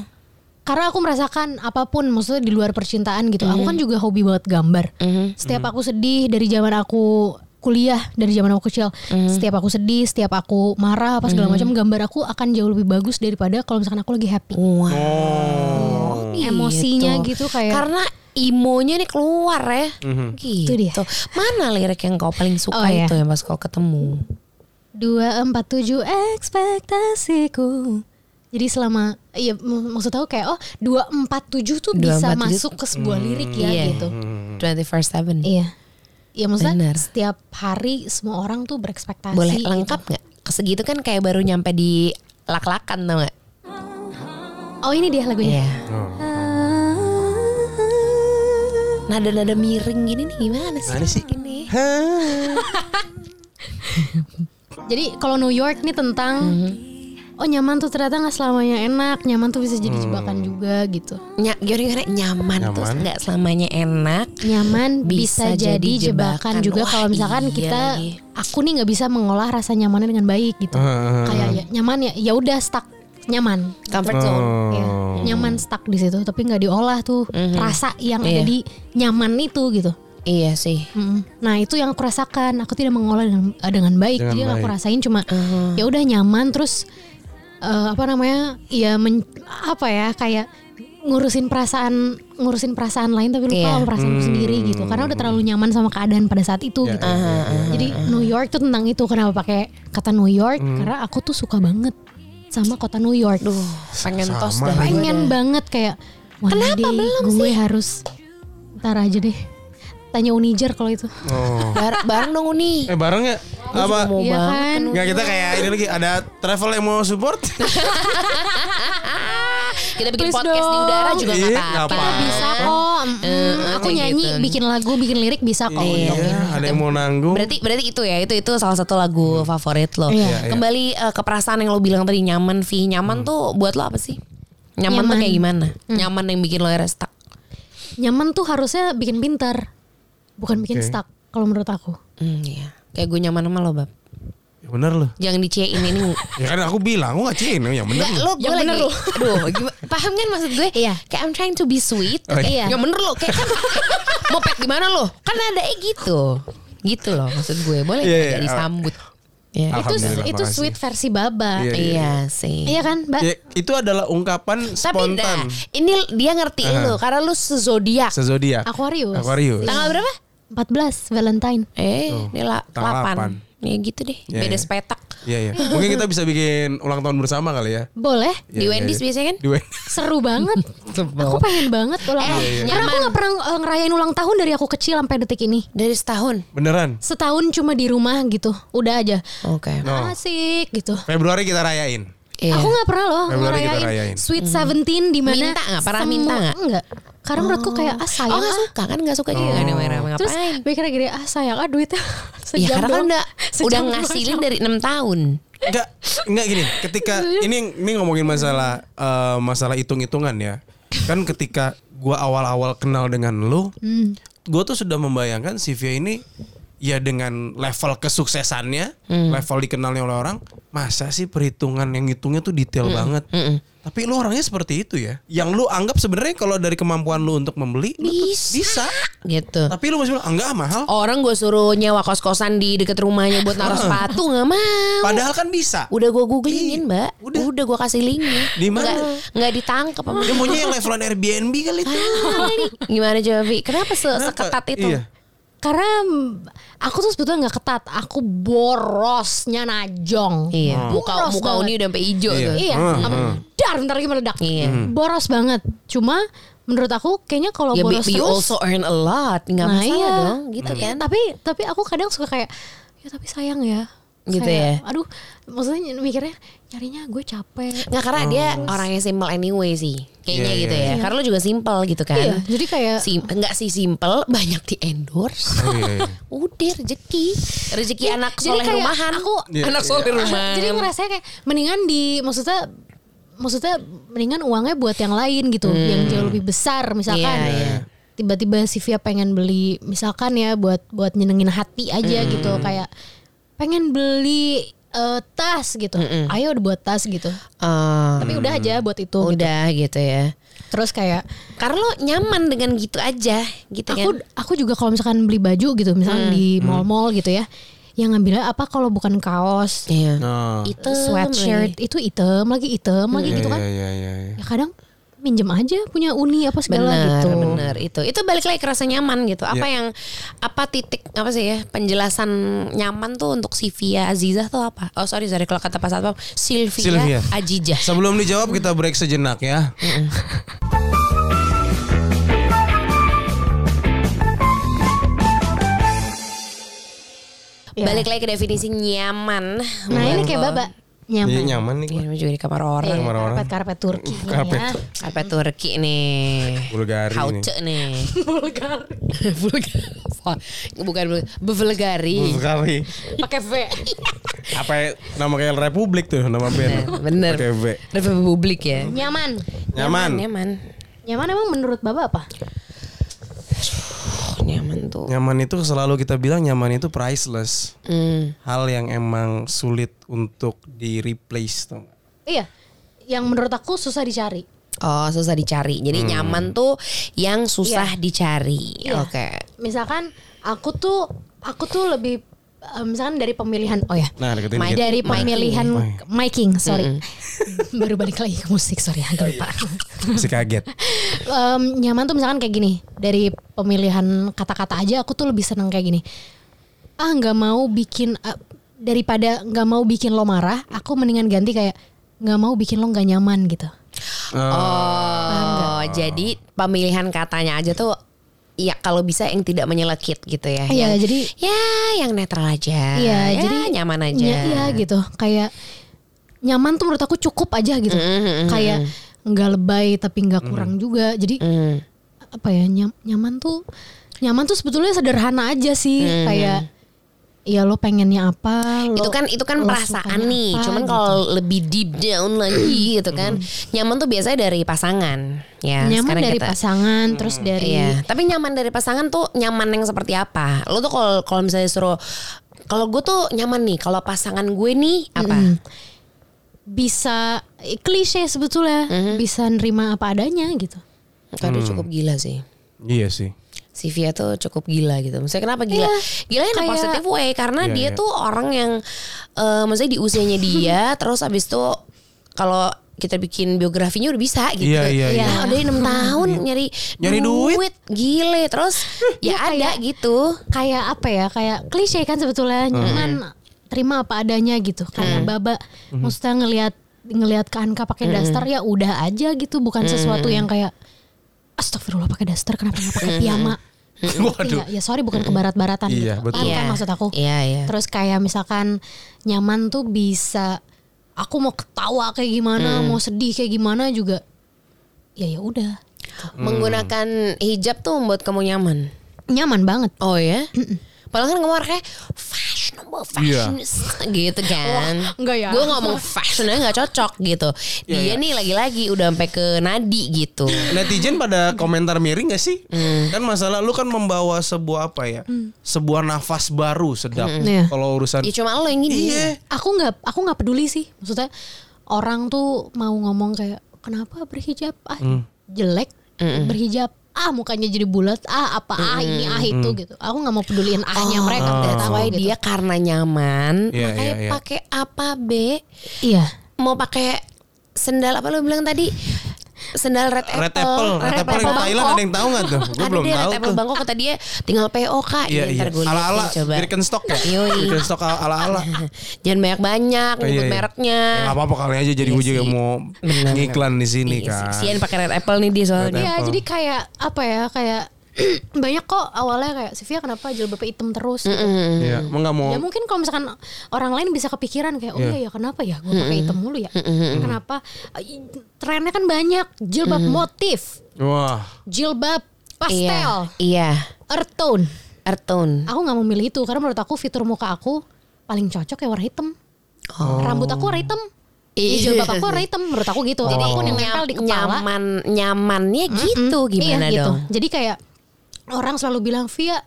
S1: karena aku merasakan apapun maksudnya di luar percintaan gitu
S2: Hmm.
S1: aku kan juga hobi banget gambar setiap aku sedih dari zaman aku kuliah dari zaman aku kecil
S2: Hmm.
S1: setiap aku sedih setiap aku marah apa segala macam gambar aku akan jauh lebih bagus daripada kalau misalkan aku lagi happy
S2: Wah.
S1: emosinya gitu, kayak
S2: karena imonya nih keluar ya
S3: Mhm.
S2: gitu
S1: Itu dia.
S2: mana lirik yang kau paling suka
S1: Oh, iya.
S2: itu yang pas kau ketemu
S1: dua empat tujuh ekspektasiku jadi selama iya m- maksud aku kayak oh dua empat tujuh tuh
S2: Dua,
S1: bisa
S2: empat, tujuh.
S1: masuk ke sebuah lirik ya
S2: Iya.
S1: gitu
S2: 24/7
S1: iya Iya maksudnya
S2: Benar.
S1: setiap hari semua orang tuh berekspektasi
S2: boleh
S1: gitu.
S2: lengkap nggak segitu kan kayak baru nyampe di lak-lakan tau nggak
S1: Oh ini dia lagunya
S2: Iya.
S3: Oh.
S2: nada-nada miring gini nih gimana sih
S3: Gimana sih?
S2: Gini.
S1: Jadi kalau New York nih tentang
S2: Mm-hmm.
S1: oh nyaman tuh ternyata nggak selamanya enak, nyaman tuh bisa jadi jebakan juga gitu.
S2: Ny- gimana, gimana? nyaman, tuh
S3: Nyaman.
S2: nggak selamanya enak
S1: Nyaman bisa,
S2: Bisa
S1: jadi
S2: jadi
S1: jebakan,
S2: jebakan.
S1: juga
S2: Wah,
S1: kalau misalkan
S2: iya
S1: kita
S2: lagi.
S1: aku nih nggak bisa mengolah rasa nyamannya dengan baik gitu.
S3: Heeh.
S1: Kayak ya, nyaman ya ya udah stuck nyaman.
S2: comfort zone
S1: Ya, nyaman stuck di situ tapi nggak diolah tuh rasa yang ada
S2: Iya.
S1: di nyaman itu gitu.
S2: iya sih
S1: Mm-mm. Nah itu yang aku rasakan. Aku tidak mengolah dengan, eh, dengan baik.
S3: Dengan
S1: Jadi yang aku
S3: baik. Uh-huh.
S1: rasain cuma ya udah nyaman terus eh, apa namanya? Ya men, apa ya kayak ngurusin perasaan ngurusin perasaan lain tapi lupa
S2: Iya.
S1: sama perasaanku sendiri
S3: Hmm.
S1: gitu. Karena udah terlalu nyaman sama keadaan pada saat
S3: iya,
S1: itu
S3: Ya,
S1: gitu.
S2: Ah,
S1: Jadi New York tuh tentang itu kenapa pakai kata New York?
S3: Hmm.
S1: Karena aku tuh suka banget sama kota New York.
S2: pengen tos dah
S3: Sama lagi.
S1: Pengen banget kayak wah,
S2: Kenapa
S1: deh,
S2: belum
S1: gue harus ntar aja deh. Tanya Unijer kalau itu.
S3: Oh.
S2: Bar- bareng dong uni
S3: Eh bareng ya?
S2: ah.
S3: Apa?
S2: mau
S1: Iya kan?
S3: Nggak kita kayak ini lagi ada travel yang mau
S2: *laughs*
S3: support?
S2: kita bikin
S1: Please
S2: podcast di
S1: dong.
S2: udara juga
S3: Iya,
S2: nggak
S3: nggak
S2: apa-apa
S1: Kita bisa kok. Mm,
S2: Eh,
S1: aku
S2: kayak
S1: nyanyi,
S2: gitu.
S1: bikin lagu, bikin lirik bisa kok.
S3: Iya, ada yang mau nanggung.
S2: Berarti berarti itu ya, itu itu salah satu lagu favorit lo.
S1: Iya.
S2: Kembali eh, ke perasaan yang lo bilang tadi nyaman, Vi. Nyaman tuh buat lo apa sih? Nyaman, tuh
S1: Nyaman. Hmm.
S2: kayak gimana? Nyaman yang bikin lo resta.
S1: nyaman tuh harusnya bikin pintar, bukan
S5: Oke.
S1: bikin stuck kalau menurut aku.
S2: Hmm, iya. Kayak gue nyaman sama lo, Bab.
S3: Ya bener loh.
S2: Jangan diciein
S1: *laughs*
S2: ini.
S3: Ya kan aku bilang, aku gak cien yang bener.
S2: Enggak, lo gue
S1: Yang
S2: lagi.
S1: bener lo.
S2: Aduh, gimana- paham kan maksud gue?
S1: Iya.
S2: Kayak I'm trying to be sweet.
S3: Oh,
S1: iya.
S2: Yang bener lo, kayak kan *laughs* mau pet gimana lo? Kan ada eh gitu. Gitu loh maksud gue. Boleh
S5: Iya,
S2: nggak
S5: iya.
S2: disambut. Iya.
S5: Al-
S1: Itu
S5: Alhamdulillah,
S1: itu
S5: makasih.
S1: sweet versi baba.
S5: Iya.
S1: Iya,
S2: Iya sih.
S1: kan, Mbak?
S3: Ya, itu adalah ungkapan
S2: Tapi nah,
S3: spontan.
S2: ini dia ngertiin
S3: Aha.
S2: lo karena lo sezodiak.
S3: Sezodiak.
S1: Aquarius.
S3: Aquarius.
S2: Tanggal berapa?
S1: 14 Valentine.
S2: Eh, dia la,
S3: Tanggal lapan.
S2: 8. Ya gitu deh.
S3: Iya,
S2: Beda
S3: iya.
S2: sepetak.
S3: Iya iya. Mungkin kita bisa bikin ulang tahun bersama kali ya.
S1: Boleh.
S3: Iya,
S2: Di
S3: iya,
S2: Wendy's
S3: iya.
S2: biasanya kan?
S3: Di Wendy's.
S1: *laughs* Seru banget.
S2: Sebel.
S1: aku pengen banget ulang
S2: Eh,
S1: tahun.
S2: iya, iya.
S1: Karena aku
S2: nyaman.
S1: gak pernah eh, ngerayain ulang tahun dari aku kecil sampai detik ini.
S2: Dari setahun.
S3: *laughs* Beneran.
S1: Setahun cuma di rumah gitu. Udah aja.
S2: Oke.
S5: Oh.
S3: No.
S1: Asik gitu.
S3: Februari kita rayain.
S2: Iya. Mm-hmm.
S1: Aku nggak pernah loh
S3: Februari kita
S1: ngerayain,
S3: rayain.
S1: Sweet Seventeen di mana?
S2: Minta nggak? Parah
S1: semua-
S2: minta nggak?
S1: Enggak. Karena menurutku kayak ah
S2: Oh
S1: sayang
S2: gak
S1: ah.
S2: suka kan gak suka juga kan rame-rame
S1: Terus
S2: ngapain
S1: mikirnya gini ah sayang ah duitnya *laughs* sejam
S2: Ya karena kan
S1: doang.
S2: udah,
S1: *laughs* Sejam
S2: udah
S1: doang.
S2: ngasilin dari 6 tahun
S3: Enggak, enggak gini.
S2: *laughs*
S3: Ketika ini ini ngomongin masalah eh, masalah hitung-hitungan ya. Kan ketika gua awal-awal kenal dengan lu,
S2: Hmm.
S3: gua tuh sudah membayangkan si Via ini ya dengan level kesuksesannya,
S2: Hmm.
S3: level dikenalnya oleh orang, masa sih perhitungan yang hitungnya tuh detail
S2: Hmm.
S3: banget. Tapi lu orangnya seperti itu ya. Yang lu anggap sebenarnya kalau dari kemampuan lu untuk membeli lu tuh bisa.
S2: Gitu
S3: Tapi lu masih bilang "Ah, enggak ah, mahal.
S2: Orang gue suruh nyewa kos-kosan di deket rumahnya buat naruh sepatu Gak mau
S3: Padahal kan bisa.
S2: Udah gue googlingin mbak
S3: Udah.
S2: Udah, gue kasih linknya
S3: Di mana?
S2: Nggak, nggak ditangkap sama
S3: *laughs* Dia maunya yang levelan Airbnb kali itu.
S2: Gimana coba Vi? Kenapa se- *laughs* seketat itu?
S3: Iya.
S1: Karena mm, aku tuh sebetulnya nggak ketat, aku borosnya najong.
S2: Iya. Muka,
S1: Boros
S2: muka
S1: banget.
S2: Uni udah sampai hijau
S3: Iya.
S2: tuh
S1: Iya, am- dar bentar lagi meledak.
S2: Iya.
S3: Hmm.
S1: Boros banget. Cuma menurut aku kayaknya kalau
S2: Ya
S1: boros
S2: but you
S1: terus
S2: also earn a lot Gak
S1: Nah,
S2: masalah
S1: iya.
S2: dong Gitu
S1: Iya,
S2: kan
S1: Tapi tapi aku kadang suka kayak ya tapi sayang ya.
S2: Gitu
S1: Kayak,
S2: ya?
S1: Aduh, maksudnya mikirnya nyarinya gue capek.
S2: Nggak karena dia orangnya simple anyway sih Kayaknya
S3: Oh. Iya,
S2: gitu
S3: iya.
S2: ya Karena lo juga simple gitu kan
S1: Iya, jadi kayak
S2: Sim enggak sih simple *laughs* banyak di endorse.
S3: *laughs*
S2: Udah rezeki, rezeki anak
S1: Iya, jadi
S2: soleh
S1: kayak
S2: rumahan.
S1: aku
S2: anak soleh rumahan.
S1: *laughs* jadi ngerasanya kayak mendingan di maksudnya maksudnya mendingan uangnya buat yang lain gitu, yang jauh lebih besar misalkan.
S2: Hmm. Iya, iya.
S1: Tiba-tiba si Via pengen beli misalkan ya buat buat nyenengin hati aja
S2: Hmm.
S1: gitu kayak pengen beli eh, tas gitu.
S2: Hmm.
S1: Ayo buat tas gitu.
S3: Ah.
S2: Eh,
S1: Tapi udah aja buat itu gitu.
S2: udah gitu ya.
S1: Terus kayak
S2: Karena lo nyaman dengan gitu aja, gitu
S1: aku
S2: kan.
S1: aku juga kalau misalkan beli baju gitu misalkan di
S3: Hmm.
S1: mall-mall gitu ya yang ngambilnya apa kalau bukan kaos
S2: Iya.
S3: Nah.
S2: Itu
S1: sweatshirt itu item lagi item lagi gitu kan
S3: Iya iya iya. iya.
S1: ya kadang minjem aja punya uni apa segala
S2: Bener,
S1: gitu
S2: bener itu. Itu balik lagi ke rasa nyaman gitu. Apa
S3: Iya.
S2: yang apa titik apa sih ya penjelasan nyaman tuh untuk Sylvia Azizah tuh apa? Oh sorry sorry kalau kata Pak Satpam Sylvia,
S3: Sylvia.
S2: Ajijah.
S3: Sebelum dijawab kita break sejenak ya.
S1: Ya.
S2: Balik lagi ke definisi nyaman.
S1: nah ini kayak baba nyaman
S3: Iya nyaman nih.
S2: Iya, namanya juga di kamar orang.
S1: Iya,
S3: orang-orang.
S1: karpet karpet Turki ini
S3: Karpet.
S1: ya
S2: Karpet Turki nih.
S3: Bulgari
S2: Kauce
S3: *laughs*
S2: nih. *laughs*
S1: vulgar
S2: Bulgari. Bukan Bulgari. Bevulgari.
S3: Bulgari.
S1: pakai V
S3: ya? Apa ya, nama kayak Republik tuh nama band.
S2: Nah, Bener.
S3: Pakai V.
S2: Republik ya.
S1: nyaman
S3: Nyaman.
S2: Nyaman.
S1: nyaman emang menurut baba apa
S2: Oh, nyaman tuh.
S3: Nyaman itu selalu kita bilang nyaman itu priceless.
S2: Hmm.
S3: Hal yang emang sulit untuk di replace tuh.
S1: iya yang menurut aku susah dicari
S2: Oh susah dicari. Jadi nyaman tuh yang susah dicari.
S1: Iya.
S2: Oke.
S1: misalkan aku tuh aku tuh lebih eh, misalkan dari pemilihan oh ya
S3: Nah, deketin
S2: My
S3: dikit.
S1: dari
S2: Iya. Miking.
S1: pemilihan miking sorry *laughs* baru balik lagi ke musik sorry agak lupa
S3: Masih kaget.
S1: Em, nyaman tuh misalkan kayak gini dari pemilihan kata-kata aja aku tuh lebih seneng kayak gini ah nggak mau bikin eh, daripada nggak mau bikin lo marah aku mendingan ganti kayak nggak mau bikin lo nggak nyaman gitu
S3: Ah. Eh,
S2: Oh jadi pemilihan katanya aja tuh. Ya kalau bisa yang tidak menyelekit gitu ya.
S1: Iya,
S2: Yang-
S1: jadi-
S2: ya yang netral aja.
S1: Iya,
S2: Ya,
S1: jadi
S2: nyaman aja.
S1: Iya, iya gitu. Kayak nyaman tuh menurut aku cukup aja gitu.
S2: Mm-hmm.
S1: Kayak nggak lebay tapi nggak kurang juga. Jadi
S2: Hmm.
S1: apa ya nyam- nyaman tuh nyaman tuh sebetulnya sederhana aja sih. Kayak ya lo pengennya apa
S2: Hmm.
S1: lo
S2: itu kan itu kan
S1: lo
S2: perasaan
S1: sukanya
S2: nih
S1: apa,
S2: cuman
S1: gitu. Hmm.
S2: kalau lebih deep down lagi gitu kan nyaman tuh biasanya dari pasangan ya
S1: nyaman
S2: sekarang
S1: dari
S2: kita-
S1: pasangan terus dari
S2: Iya, tapi nyaman dari pasangan tuh nyaman yang seperti apa? Lo tuh kalau kalau misalnya suruh kalau gue tuh nyaman nih, kalau pasangan gue nih apa?
S1: bisa eh, klise sebetulnya
S2: Hmm.
S1: bisa nerima apa adanya gitu
S2: Itu aduh cukup gila sih.
S3: Iya sih.
S2: Si Via tuh cukup gila gitu. Maksudnya kenapa gila? gila in a
S1: Iya. kayak-
S2: positive way karena
S3: Iya,
S2: dia
S3: iya.
S2: tuh orang yang eh maksudnya di usianya
S1: *laughs*
S2: dia terus abis itu kalau kita bikin biografinya udah bisa gitu.
S3: Iya, iya, iya.
S2: Nah, udah 6 tahun nyari
S3: Nyari duit.
S2: gile terus
S1: Iya,
S2: ya ada gitu.
S1: kayak apa ya kayak klise kan sebetulnya
S3: Hmm.
S1: nyaman terima apa adanya gitu kayak baba
S3: Hmm.
S1: maksudnya ngelihat ngelihat ke Anka pakai daster ya udah aja gitu bukan sesuatu
S3: Hmm.
S1: yang kayak astagfirullah pakai daster kenapa nggak pakai piyama
S3: Hmm. Waduh.
S1: ya, ya sorry bukan ke barat-baratan
S3: Iya,
S1: gitu
S3: betul.
S1: Paham kan
S2: Iya.
S1: maksud aku
S2: Iya, iya.
S1: terus kayak misalkan nyaman tuh bisa aku mau ketawa kayak gimana
S3: Hmm.
S1: mau sedih kayak gimana juga ya ya udah
S2: Hmm. Menggunakan hijab tuh membuat kamu nyaman.
S1: nyaman banget
S2: Oh ya? Padahal kan kemarin kayak fashionable, fashionista *laughs* gitu kan.
S1: enggak ya.
S2: Gue ngomong fashionnya nggak cocok gitu. Dia
S3: Iya,
S2: nih lagi-lagi udah sampai ke nadi gitu.
S3: Netizen
S2: Hmm.
S3: pada komentar miring gak sih? Kan masalah lu kan membawa sebuah apa ya?
S2: Hmm.
S3: Sebuah nafas baru sedap.
S1: Iya.
S3: Kalau urusan
S2: Ya cuma lo yang gini.
S3: Iya.
S1: aku nggak aku nggak peduli sih maksudnya orang tuh mau ngomong kayak kenapa berhijab ah jelek
S2: Hmm.
S1: berhijab ah mukanya jadi bulat ah apa ah ini ah itu gitu aku nggak mau peduliin ahnya
S2: Oh,
S1: mereka gitu.
S2: That's
S1: ternyata
S2: why dia karena nyaman
S3: Ah. Iya,
S2: makanya
S3: iya, iya.
S2: pakai apa be?
S1: iya
S2: Mau pakai sendal apa lo bilang tadi? Sendal red apple.
S3: Red Apple, Red Apple yang Thailand ada yang tahu nggak tuh? Gue
S2: Ada
S3: belum
S2: deh red
S3: tahu
S2: apple
S3: tuh.
S2: Bangkok kata dia tinggal PO kak.
S3: Iya
S2: Ya,
S3: iya.
S2: ntar gua liatin
S3: Ala-ala
S2: coba.
S3: Birkenstock ya.
S2: Yoi.
S3: Birkenstock ala-ala.
S2: Jangan banyak-banyak
S3: Oh,
S2: nyebut
S3: iya, iya.
S2: mereknya.
S3: Ya, nggak apa-apa kali aja jadi
S2: Iya
S3: gue juga
S2: sih.
S3: mau
S2: Benar, Iya,
S3: ngiklan di sini kan.
S2: Sian pakai red apple nih dia soalnya.
S1: iya
S3: Apple.
S1: jadi kayak apa ya kayak *clears throat* banyak kok awalnya kayak Sylvia kenapa jilbabnya hitam terus gitu.
S3: Iya,
S2: Hmm.
S3: mau nggak mau.
S1: Ya mungkin kalau misalkan orang lain bisa kepikiran kayak oh iya ya kenapa ya gue pakai hitam mulu ya. Kenapa Eh, trennya kan banyak jilbab motif,
S3: Wah.
S1: jilbab pastel,
S2: Iya. Iya.
S1: earth tone.
S2: Earth tone.
S1: Aku nggak mau milih itu karena menurut aku fitur muka aku paling cocok ya warna hitam.
S3: Oh.
S1: Rambut aku warna hitam.
S2: Iya.
S1: Jilbab aku warna hitam menurut aku gitu. Apapun yang nempel di kepala
S2: Nyaman, nyamannya gitu gimana
S1: iya,
S2: dong?
S1: Gitu. Jadi kayak orang selalu bilang via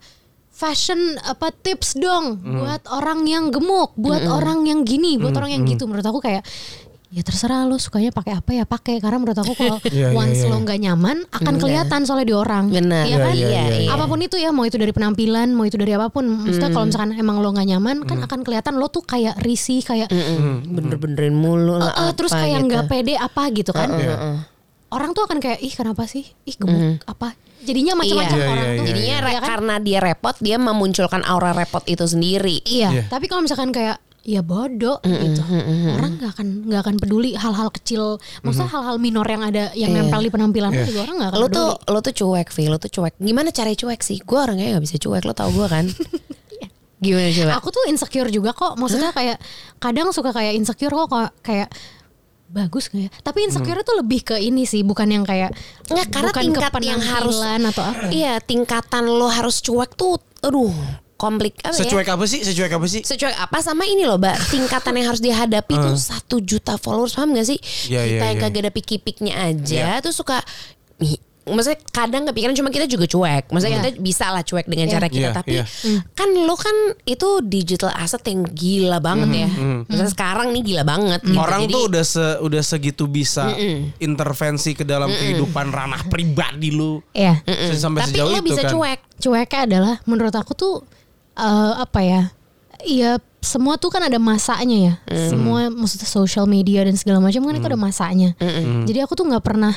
S1: fashion apa tips dong
S3: Hmm.
S1: buat orang yang gemuk, buat orang yang gini, buat orang
S3: hmm.
S1: yang gitu. Menurut aku kayak ya terserah lo sukanya pakai apa ya pakai karena menurut aku kalau
S3: *laughs* Iya, iya,
S1: once
S3: iya.
S1: lo nggak nyaman akan kelihatan soalnya di orang
S2: Benar.
S1: Iya kan
S2: Iya, iya, iya. Hmm.
S1: apapun itu ya mau itu dari penampilan mau itu dari apapun maksudnya kalau misalkan emang lo nggak nyaman kan akan kelihatan lo tuh kayak risih kayak
S2: Bener-benerin mulu lah.
S1: Eh, eh, terus
S2: Hmm. apa
S1: kayak
S2: gitu. Hmm.
S1: nggak pede apa gitu kan
S3: Iya.
S1: orang tuh akan kayak ih kenapa sih ih gemuk apa jadinya macam-macam
S2: Iya,
S1: orang
S3: iya,
S1: tuh
S3: iya,
S2: Jadinya
S1: Ya
S2: re-
S1: kan?
S2: karena dia repot dia memunculkan aura repot itu sendiri.
S1: iya
S3: Iya.
S1: tapi kalau misalkan kayak ya bodoh
S2: Hmm,
S1: gitu orang nggak akan nggak akan peduli hal-hal kecil maksudnya hal-hal minor yang ada yang nempel di penampilan lu juga orang nggak akan
S2: Hmm. Iya. Lo
S1: peduli
S2: tuh lo tuh cuek, Vi. Lo tuh cuek. Gimana cara cuek sih? Gue orangnya nggak bisa cuek. Lo tau gue kan?
S1: *laughs*
S2: Gimana coba?
S1: Iya. aku tuh insecure juga kok maksudnya kayak kadang suka kayak insecure kok kok kayak bagus gak ya tapi insecure tuh lebih ke ini sih bukan yang kayak
S2: Nggak, karena
S1: bukan
S2: tingkat
S1: ke
S2: yang harus-
S1: penampilan atau apa
S2: Iya, tingkatan lo harus cuek tuh, aduh, komplik apa ya? Hmm.
S3: Secuek apa sih? Secuek apa sih?
S2: secuek apa sama ini loh mbak tingkatan yang harus dihadapi tuh satu juta followers paham gak sih
S3: Iya,
S2: kita
S3: iya,
S2: yang
S3: iya.
S2: kagak ada pikipiknya aja tuh suka "Ih, maksudnya kadang kepikiran cuma kita juga cuek
S1: Iya.
S2: maksudnya kita bisa lah cuek dengan cara kita
S3: Iya,
S2: tapi
S3: iya.
S1: Hmm.
S2: kan lo kan itu digital asset yang gila banget ya Maksudnya sekarang nih gila banget gitu.
S3: Hmm, Orang
S2: Jadi,
S3: tuh udah se- udah segitu bisa intervensi ke dalam kehidupan ranah pribadi lu.
S1: Iya.
S3: Se- Sampai
S2: tapi
S3: sejauh
S2: lo
S3: itu
S2: bisa
S3: kan.
S2: cuek
S1: cueknya adalah menurut aku tuh eh, apa ya Iya semua tuh kan ada masanya ya
S3: Hmm.
S1: semua maksudnya social media dan segala macam kan itu ada masanya
S3: Hmm.
S1: jadi aku tuh nggak pernah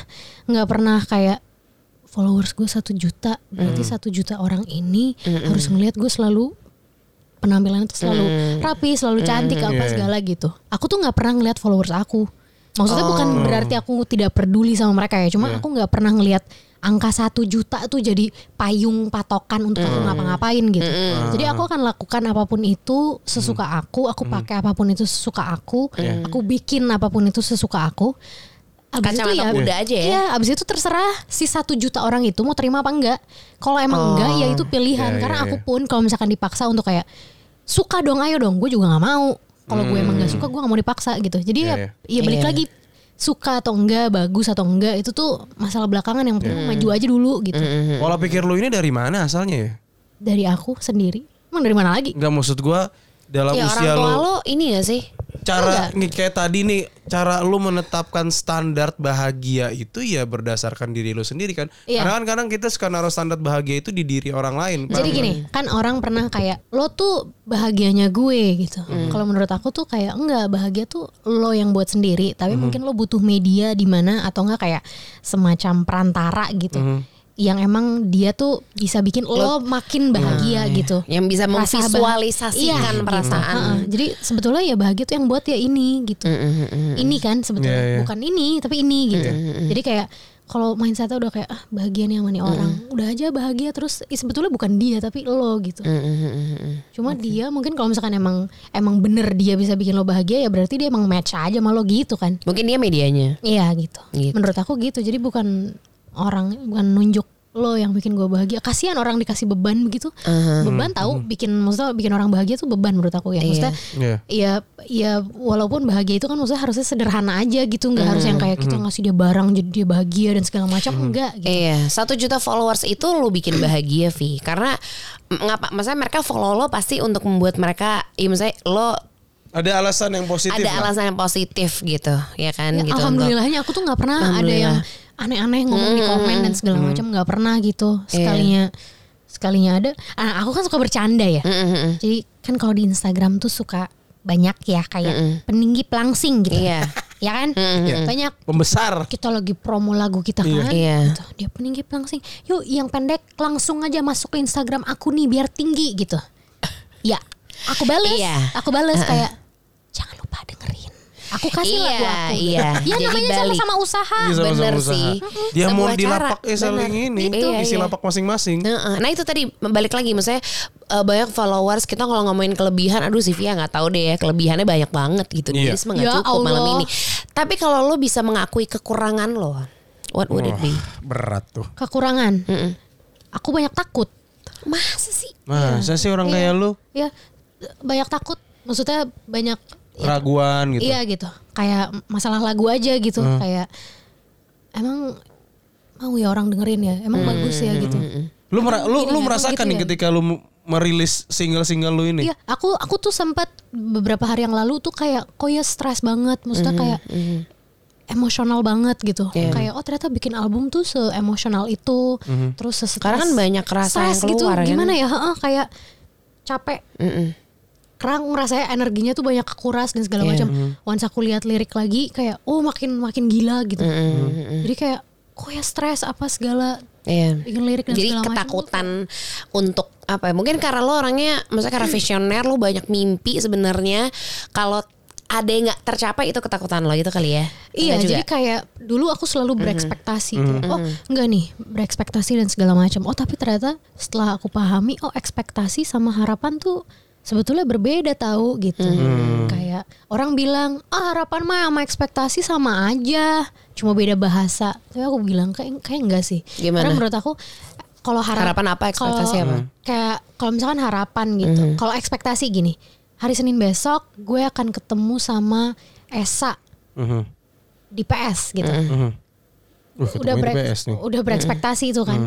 S1: nggak pernah kayak followers gue satu juta berarti
S3: Hmm.
S1: satu juta orang ini harus ngelihat gue selalu penampilannya tuh selalu rapi selalu cantik apa segala gitu aku tuh nggak pernah ngelihat followers aku maksudnya bukan berarti aku tidak peduli sama mereka ya cuma aku nggak pernah ngelihat angka satu juta tuh jadi payung patokan untuk aku ngapa-ngapain gitu jadi aku akan lakukan apapun itu sesuka aku aku pakai apapun itu sesuka aku aku bikin apapun itu sesuka aku Abis itu
S2: Kacamata
S1: ya,
S2: Buddha aja ya.
S1: Iya, abis itu terserah si satu juta orang itu mau terima apa enggak. Kalau emang enggak, ya itu
S3: Iya,
S1: pilihan. Karena
S3: iya,
S1: aku
S3: iya.
S1: pun kalau misalkan dipaksa untuk kayak suka dong ayo dong gue juga nggak mau kalau gue emang nggak suka gue nggak mau dipaksa gitu jadi
S5: Iya,
S1: ya, ya balik
S2: Iya.
S1: lagi suka atau enggak bagus atau enggak itu tuh masalah belakangan yang penting maju aja dulu gitu
S3: Pola pikir lu ini dari mana asalnya ya?
S1: dari aku sendiri emang dari mana lagi
S3: Enggak maksud gua dalam
S2: ya orang
S3: usia
S2: tua
S3: lu
S2: lo ini gak sih?
S3: cara
S1: Enggak.
S3: nih kayak tadi nih cara lu menetapkan standar bahagia itu ya berdasarkan diri lu sendiri kan.
S1: Iya.
S3: Karena kan kadang kita suka naruh standar bahagia itu di diri orang lain.
S1: Jadi
S3: paham
S1: gini, kan orang pernah kayak lo tuh bahagianya gue gitu.
S3: Hmm.
S1: Kalau menurut aku tuh kayak enggak bahagia tuh lo yang buat sendiri, tapi
S3: Hmm.
S1: mungkin lo butuh media di mana atau enggak kayak semacam perantara gitu.
S3: Hmm.
S1: Yang emang dia tuh bisa bikin lo, makin
S3: Nah,
S1: bahagia gitu.
S2: Yang bisa
S1: Rasa bah- Iya,
S2: memvisualisasikan
S1: gitu.
S2: perasaan. Hmm,
S1: Ha-ha. Jadi sebetulnya ya bahagia tuh yang buat ya ini gitu. Ini kan
S3: Hmm,
S1: sebetulnya
S3: Iya, hmm, iya.
S1: bukan ini tapi ini gitu. Jadi kayak kalau mindsetnya udah kayak ah bahagia nih sama nih orang,
S3: Hmm.
S1: udah aja bahagia terus eh, sebetulnya bukan dia tapi lo gitu.
S2: hmm,
S1: Cuma dia mungkin kalau misalkan emang emang bener dia bisa bikin lo bahagia ya berarti dia emang match aja sama lo gitu kan.
S2: Mungkin dia medianya.
S1: Iya gitu.
S2: Gitu.
S1: Menurut aku gitu. Jadi bukan orang bukan nunjuk lo yang bikin gue bahagia. Kasihan orang dikasih beban begitu. Beban tahu bikin maksudnya bikin orang bahagia tuh beban menurut aku ya. Maksudnya
S3: Iya.
S1: ya ya walaupun bahagia itu kan maksudnya harusnya sederhana aja gitu, nggak harus yang kayak kita ngasih dia barang jadi dia bahagia dan segala macam enggak gitu.
S2: Iya, satu juta followers itu lu bikin bahagia Vi, karena m- ngapa? Maksudnya mereka follow lo pasti untuk membuat mereka, ya misalnya lo
S3: Ada alasan yang positif.
S2: ada
S3: lah.
S2: alasan yang positif gitu, ya kan?
S1: Ya,
S2: gitu
S1: Alhamdulillahnya aku tuh nggak pernah ada yang aneh-aneh ngomong di komen dan segala macam nggak pernah gitu.
S2: Iya.
S1: Sekalinya sekalinya ada, ah, aku kan suka bercanda ya. Jadi kan kalau di Instagram tuh suka banyak ya kayak peninggi pelangsing gitu.
S2: Iya.
S1: *laughs* ya kan? Banyak
S3: Pembesar.
S1: kita lagi promo lagu kita kan
S2: Iya.
S1: gitu. dia peninggi langsing yuk yang pendek langsung aja masuk ke Instagram aku nih biar tinggi gitu ya aku bales
S2: Iya.
S1: aku bales kayak jangan lupa dengerin aku kasih
S2: Iya,
S1: lagu aku
S2: iya.
S1: ya
S2: Jadi
S1: namanya
S2: balik.
S1: sama-sama usaha
S3: Iya, sama-sama
S2: bener
S3: usaha.
S2: sih.
S3: Dia mau
S2: Sebuah
S3: di
S2: cara,
S3: lapak eh, saling
S2: bener.
S3: ini,
S2: Gitu.
S3: isi
S2: Iya, iya.
S3: lapak masing-masing.
S2: Nah, eh, nah itu tadi balik lagi maksudnya eh, banyak followers kita kalau ngomongin kelebihan aduh Sivia nggak tahu deh ya kelebihannya banyak banget gitu
S3: Iya.
S2: jadi semua nggak
S1: Ya
S2: cukup malam
S1: Allah.
S2: ini tapi kalau lo bisa mengakui kekurangan lo what would it be
S3: Berat tuh.
S1: kekurangan aku banyak takut
S2: masa sih
S3: Masa sih
S2: Iya.
S3: orang kayak lu
S1: ya banyak takut maksudnya banyak
S3: raguan gitu. Hmm.
S1: Iya gitu. Kayak masalah lagu aja gitu. Kayak emang mau ya orang dengerin ya. Emang
S2: Hmm.
S1: bagus ya gitu.
S3: Lu mera- lu,
S1: Gini
S3: lu
S1: ya,
S3: merasakan
S1: gitu
S3: nih
S1: ya.
S3: ketika lu m- merilis single-single lu ini.
S1: Iya, aku aku tuh sempat beberapa hari yang lalu tuh kayak kok ya stres banget,
S2: Mhm,
S1: maksudnya kayak emosional banget gitu.
S2: Iya.
S1: Kayak oh ternyata bikin album tuh se-emosional itu, terus se
S2: Karena kan banyak rasa yang
S1: gitu.
S2: keluar, kan?
S1: Gimana ya? heeh, kayak capek. Kerang rasanya energinya tuh banyak kekuras dan
S2: Iya,
S1: segala macam.
S2: mhm.
S1: Once aku lihat lirik lagi kayak oh makin makin gila gitu.
S2: Mhm,
S1: Jadi kayak kok ya stres apa segala
S2: Iya.
S1: bikin lirik dan
S2: Jadi
S1: segala macam.
S2: ketakutan untuk apa ya? Mungkin karena lo orangnya, maksudnya
S1: Hmm.
S2: karena visioner, lo banyak mimpi sebenarnya. Kalau ada yang nggak tercapai itu ketakutan lo gitu kali ya? Enggak
S1: Iya,
S2: juga? Mhm.
S1: jadi kayak dulu aku selalu berekspektasi. Kayak, Oh, enggak nih, berekspektasi dan segala macam. Oh, tapi ternyata setelah aku pahami, oh ekspektasi sama harapan tuh sebetulnya berbeda tahu gitu.
S2: Mhm.
S1: Kayak orang bilang, "Ah, harapan mah sama ekspektasi sama aja, cuma beda bahasa." Tapi aku bilang kayak kayak enggak sih.
S2: Gimana?
S1: Karena menurut aku kalau harap-
S2: Harapan apa, ekspektasi
S1: kalau- Mhm.
S2: apa? Mhm.
S1: Kayak kalau misalkan harapan gitu. Kalau ekspektasi gini, hari Senin besok gue akan ketemu sama Esa
S3: Mhm.
S1: di PS gitu.
S2: Mm.
S3: Wah,
S1: Udah
S3: ketemunya di
S1: berek-
S3: PS nih. Mm.
S1: udah
S2: Mm.
S1: berekspektasi itu kan.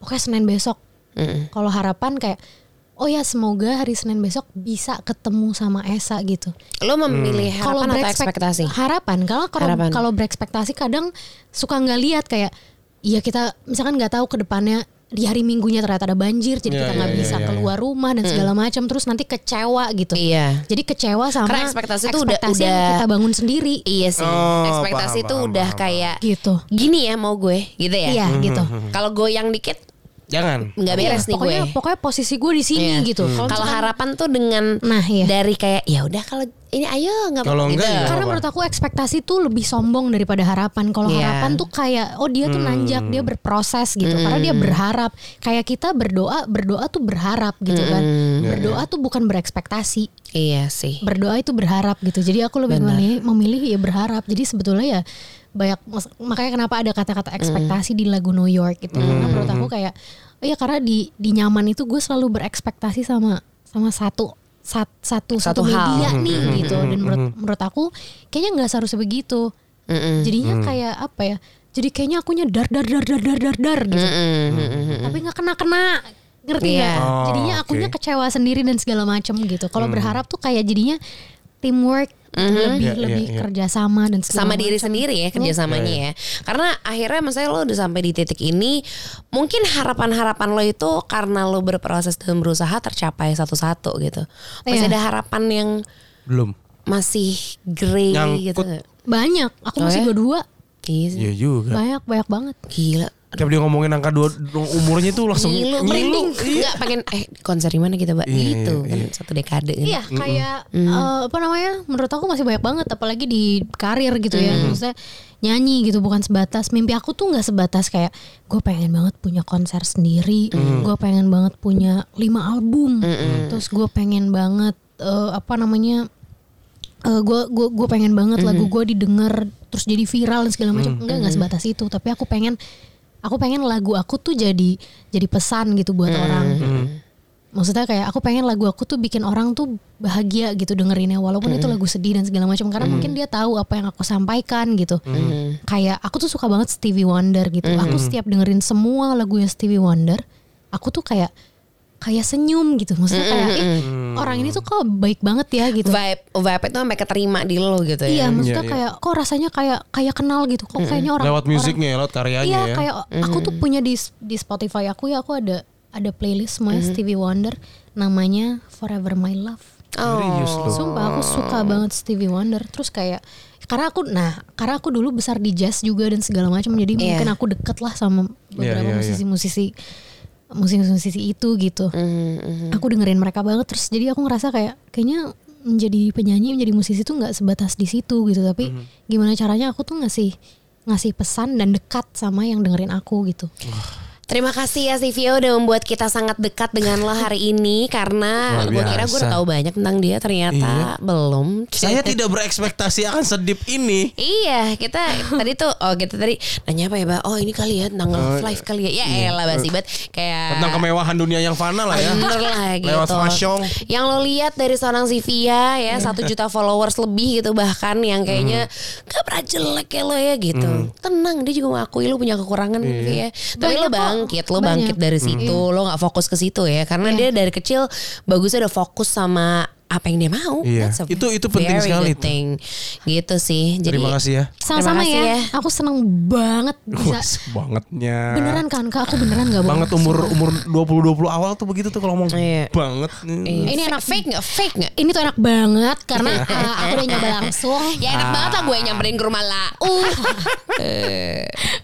S1: Pokoknya Senin besok.
S2: Hmm.
S1: Kalau harapan kayak oh ya semoga hari Senin besok bisa ketemu sama Esa gitu.
S2: Lo memilih
S1: Hmm. Kalau
S2: Eh, harapan atau
S1: berekspek-
S2: ekspektasi?
S1: Harapan. Kalau kalau
S2: Harapan.
S1: kalau berekspektasi kadang suka nggak lihat kayak iya kita misalkan nggak tahu ke depannya di hari Minggunya ternyata ada banjir jadi
S3: Iya,
S1: kita
S3: iya,
S1: nggak
S3: iya,
S1: bisa
S3: iya,
S1: keluar rumah dan segala macam terus nanti kecewa gitu.
S2: Mm. Iya.
S1: Jadi kecewa sama
S2: Karena ekspektasi itu udah-
S1: ekspektasi yang
S2: udah-
S1: kita bangun sendiri
S2: Iya sih.
S3: Oh,
S2: ekspektasi
S3: paham,
S2: itu
S3: paham,
S2: udah
S3: paham, Hmm.
S2: kayak
S1: gitu.
S2: gini ya mau gue, gitu ya?
S1: Iya,
S3: Mm-hmm.
S1: gitu.
S2: Kalau goyang dikit
S3: Jangan.
S2: nggak
S1: Iya,
S2: beres nih gue.
S1: pokoknya, pokoknya posisi gue di sini
S2: Iya.
S1: gitu.
S2: Kalau
S1: misalkan-
S2: harapan tuh dengan
S1: Nah, iya.
S2: dari kayak ya udah kalau ini ayo nggak
S3: Kalau enggak
S2: gitu.
S3: ya.
S1: Karena
S3: apa?
S1: menurut aku ekspektasi tuh lebih sombong daripada harapan. Kalau
S2: Iya. Hmm.
S1: harapan tuh kayak oh dia tuh nanjak, dia berproses gitu. Karena dia berharap. Kayak kita berdoa, berdoa tuh berharap gitu kan.
S2: Hmm.
S1: Berdoa tuh bukan berekspektasi.
S2: Iya sih.
S1: Berdoa itu berharap gitu. Jadi aku lebih memilih, memilih ya berharap. Jadi sebetulnya ya banyak makanya kenapa ada kata-kata ekspektasi di lagu New York gitu. Karena menurut iya aku kayak oh ya karena di di nyaman itu gue selalu berekspektasi sama sama satu sat- satu
S2: Satu
S1: satu, media
S2: hal.
S1: nih gitu dan menurut menurut aku kayaknya nggak seharusnya begitu jadinya
S2: Mm.
S1: kayak apa ya jadi kayaknya akunya dar dar dar dar dar dar dar gitu tapi nggak kena kena ngerti
S2: Iya.
S1: nggak?
S3: Oh,
S1: jadinya akunya
S3: oke. Hmm.
S1: kecewa sendiri dan segala macam gitu kalau berharap tuh kayak jadinya teamwork lebih
S3: Iya, iya,
S1: lebih
S3: iya.
S1: kerjasama dan
S2: Mm-hmm.
S1: segala
S2: sama diri
S1: macam. Iya.
S2: sendiri ya kerjasamanya ya. Karena akhirnya misalnya lo udah sampai di titik ini, mungkin harapan-harapan lo itu karena lo berproses dan berusaha tercapai satu-satu gitu. Masih
S1: Iya.
S2: ada harapan yang
S3: Belum.
S2: masih grey gitu.
S3: Nyangkut.
S2: nggak?
S1: banyak
S2: Oh,
S1: aku masih
S2: ya?
S1: dua dua
S2: Iya sih.
S3: Iya juga.
S1: banyak banyak banget
S2: Gila.
S3: Tiap dia ngomongin angka dua dua umurnya tuh langsung
S2: Ngilu, merinding. Enggak pengen eh konser di mana kita, Mbak?
S3: Iya,
S2: gitu.
S3: iya,
S2: kan
S3: iya.
S2: satu dekade kan.
S1: Iya kayak eh, apa namanya? Menurut aku masih banyak banget, apalagi di karir gitu ya. Maksudnya nyanyi gitu bukan sebatas mimpi aku tuh nggak sebatas kayak gue pengen banget punya konser sendiri, gue pengen banget punya lima album, terus gue pengen banget eh, apa namanya? gue gue gue pengen banget lagu gue didengar terus jadi viral dan segala macam enggak enggak sebatas itu tapi aku pengen aku pengen lagu aku tuh jadi jadi pesan gitu buat orang maksudnya kayak aku pengen lagu aku tuh bikin orang tuh bahagia gitu dengerinnya walaupun itu lagu sedih dan segala macam karena mungkin dia tahu apa yang aku sampaikan gitu kayak aku tuh suka banget Stevie Wonder gitu aku setiap dengerin semua lagunya Stevie Wonder aku tuh kayak kayak senyum gitu maksudnya kayak "Ih, orang ini tuh kok baik banget ya gitu
S2: Vibe vibe itu sampai keterima di lo gitu ya.
S1: Iya, maksudnya
S3: Iya, iya.
S1: kayak kok rasanya kayak kayak kenal gitu. Kok kayaknya orang
S3: Lewat
S1: orang-
S3: musiknya, lewat karyanya
S1: Iya,
S3: ya.
S1: kayak aku tuh punya di di Spotify aku ya aku ada ada playlist semuanya Stevie Wonder namanya Forever My Love. Oh.
S3: Serius loh.
S1: Sumpah aku suka banget Stevie Wonder. Terus kayak karena aku nah karena aku dulu besar di jazz juga dan segala macam
S2: Iya.
S1: jadi mungkin aku deket lah
S3: Iya,
S1: sama
S3: iya, iya.
S1: beberapa musisi-musisi musisi-musisi itu gitu. Aku dengerin mereka banget terus jadi aku ngerasa kayak kayaknya menjadi penyanyi menjadi musisi tuh nggak sebatas di situ gitu tapi gimana caranya aku tuh ngasih ngasih pesan dan dekat sama yang dengerin aku gitu.
S2: Terima kasih ya Sivio udah membuat kita sangat dekat dengan lo hari ini karena
S3: Luar
S2: gue kira gue udah
S3: biasa. Iya.
S2: tahu banyak tentang dia ternyata belum.
S3: Saya tidak berekspektasi akan sedip ini.
S2: Iya, kita tadi tuh oh kita tadi nanya apa ya, Mbak? Oh, ini kali ya tentang love life kali ya. Ya elah basi banget kayak
S3: iya. Tentang kemewahan dunia yang fana lah
S2: Iya.
S3: ya.
S2: Bener lah gitu.
S3: Lewat Hmm. fashion.
S2: Yang lo lihat dari seorang Sivia ya satu juta followers lebih gitu bahkan yang kayaknya
S3: Hmm.
S2: gak pernah jelek ya lo ya gitu. Tenang dia juga mengakui lo punya kekurangan
S3: Iya.
S2: gitu ya. Tapi
S1: Banyak
S2: lo
S1: kok.
S2: bangkit, lo bangkit
S1: Banyak.
S2: dari
S3: Hmm.
S2: situ, lo nggak fokus ke situ ya karena dia dari kecil bagusnya udah fokus sama apa yang dia mau.
S3: Iya.
S2: That's a
S3: Itu- itu penting
S2: very
S3: sekali
S2: good
S3: tuh.
S2: thing. Gitu sih. Jadi
S3: Terima kasih ya.
S1: Sama-sama
S2: Terima kasih ya.
S1: ya. Aku seneng banget bisa.
S3: Wah, bangetnya.
S1: Beneran kan Kak? Aku beneran
S3: *laughs*
S1: gak bohong.
S3: Banget umur umur 20 20 awal tuh begitu tuh kalau ngomong
S2: Iya.
S3: banget.
S2: Iya.
S1: Ini enak.
S2: fake nggak fake nggak?
S1: ini tuh enak banget karena eh,
S3: Ah.
S1: uh, aku udah nyoba langsung.
S2: Ya enak banget lah gue nyamperin ke rumah lau.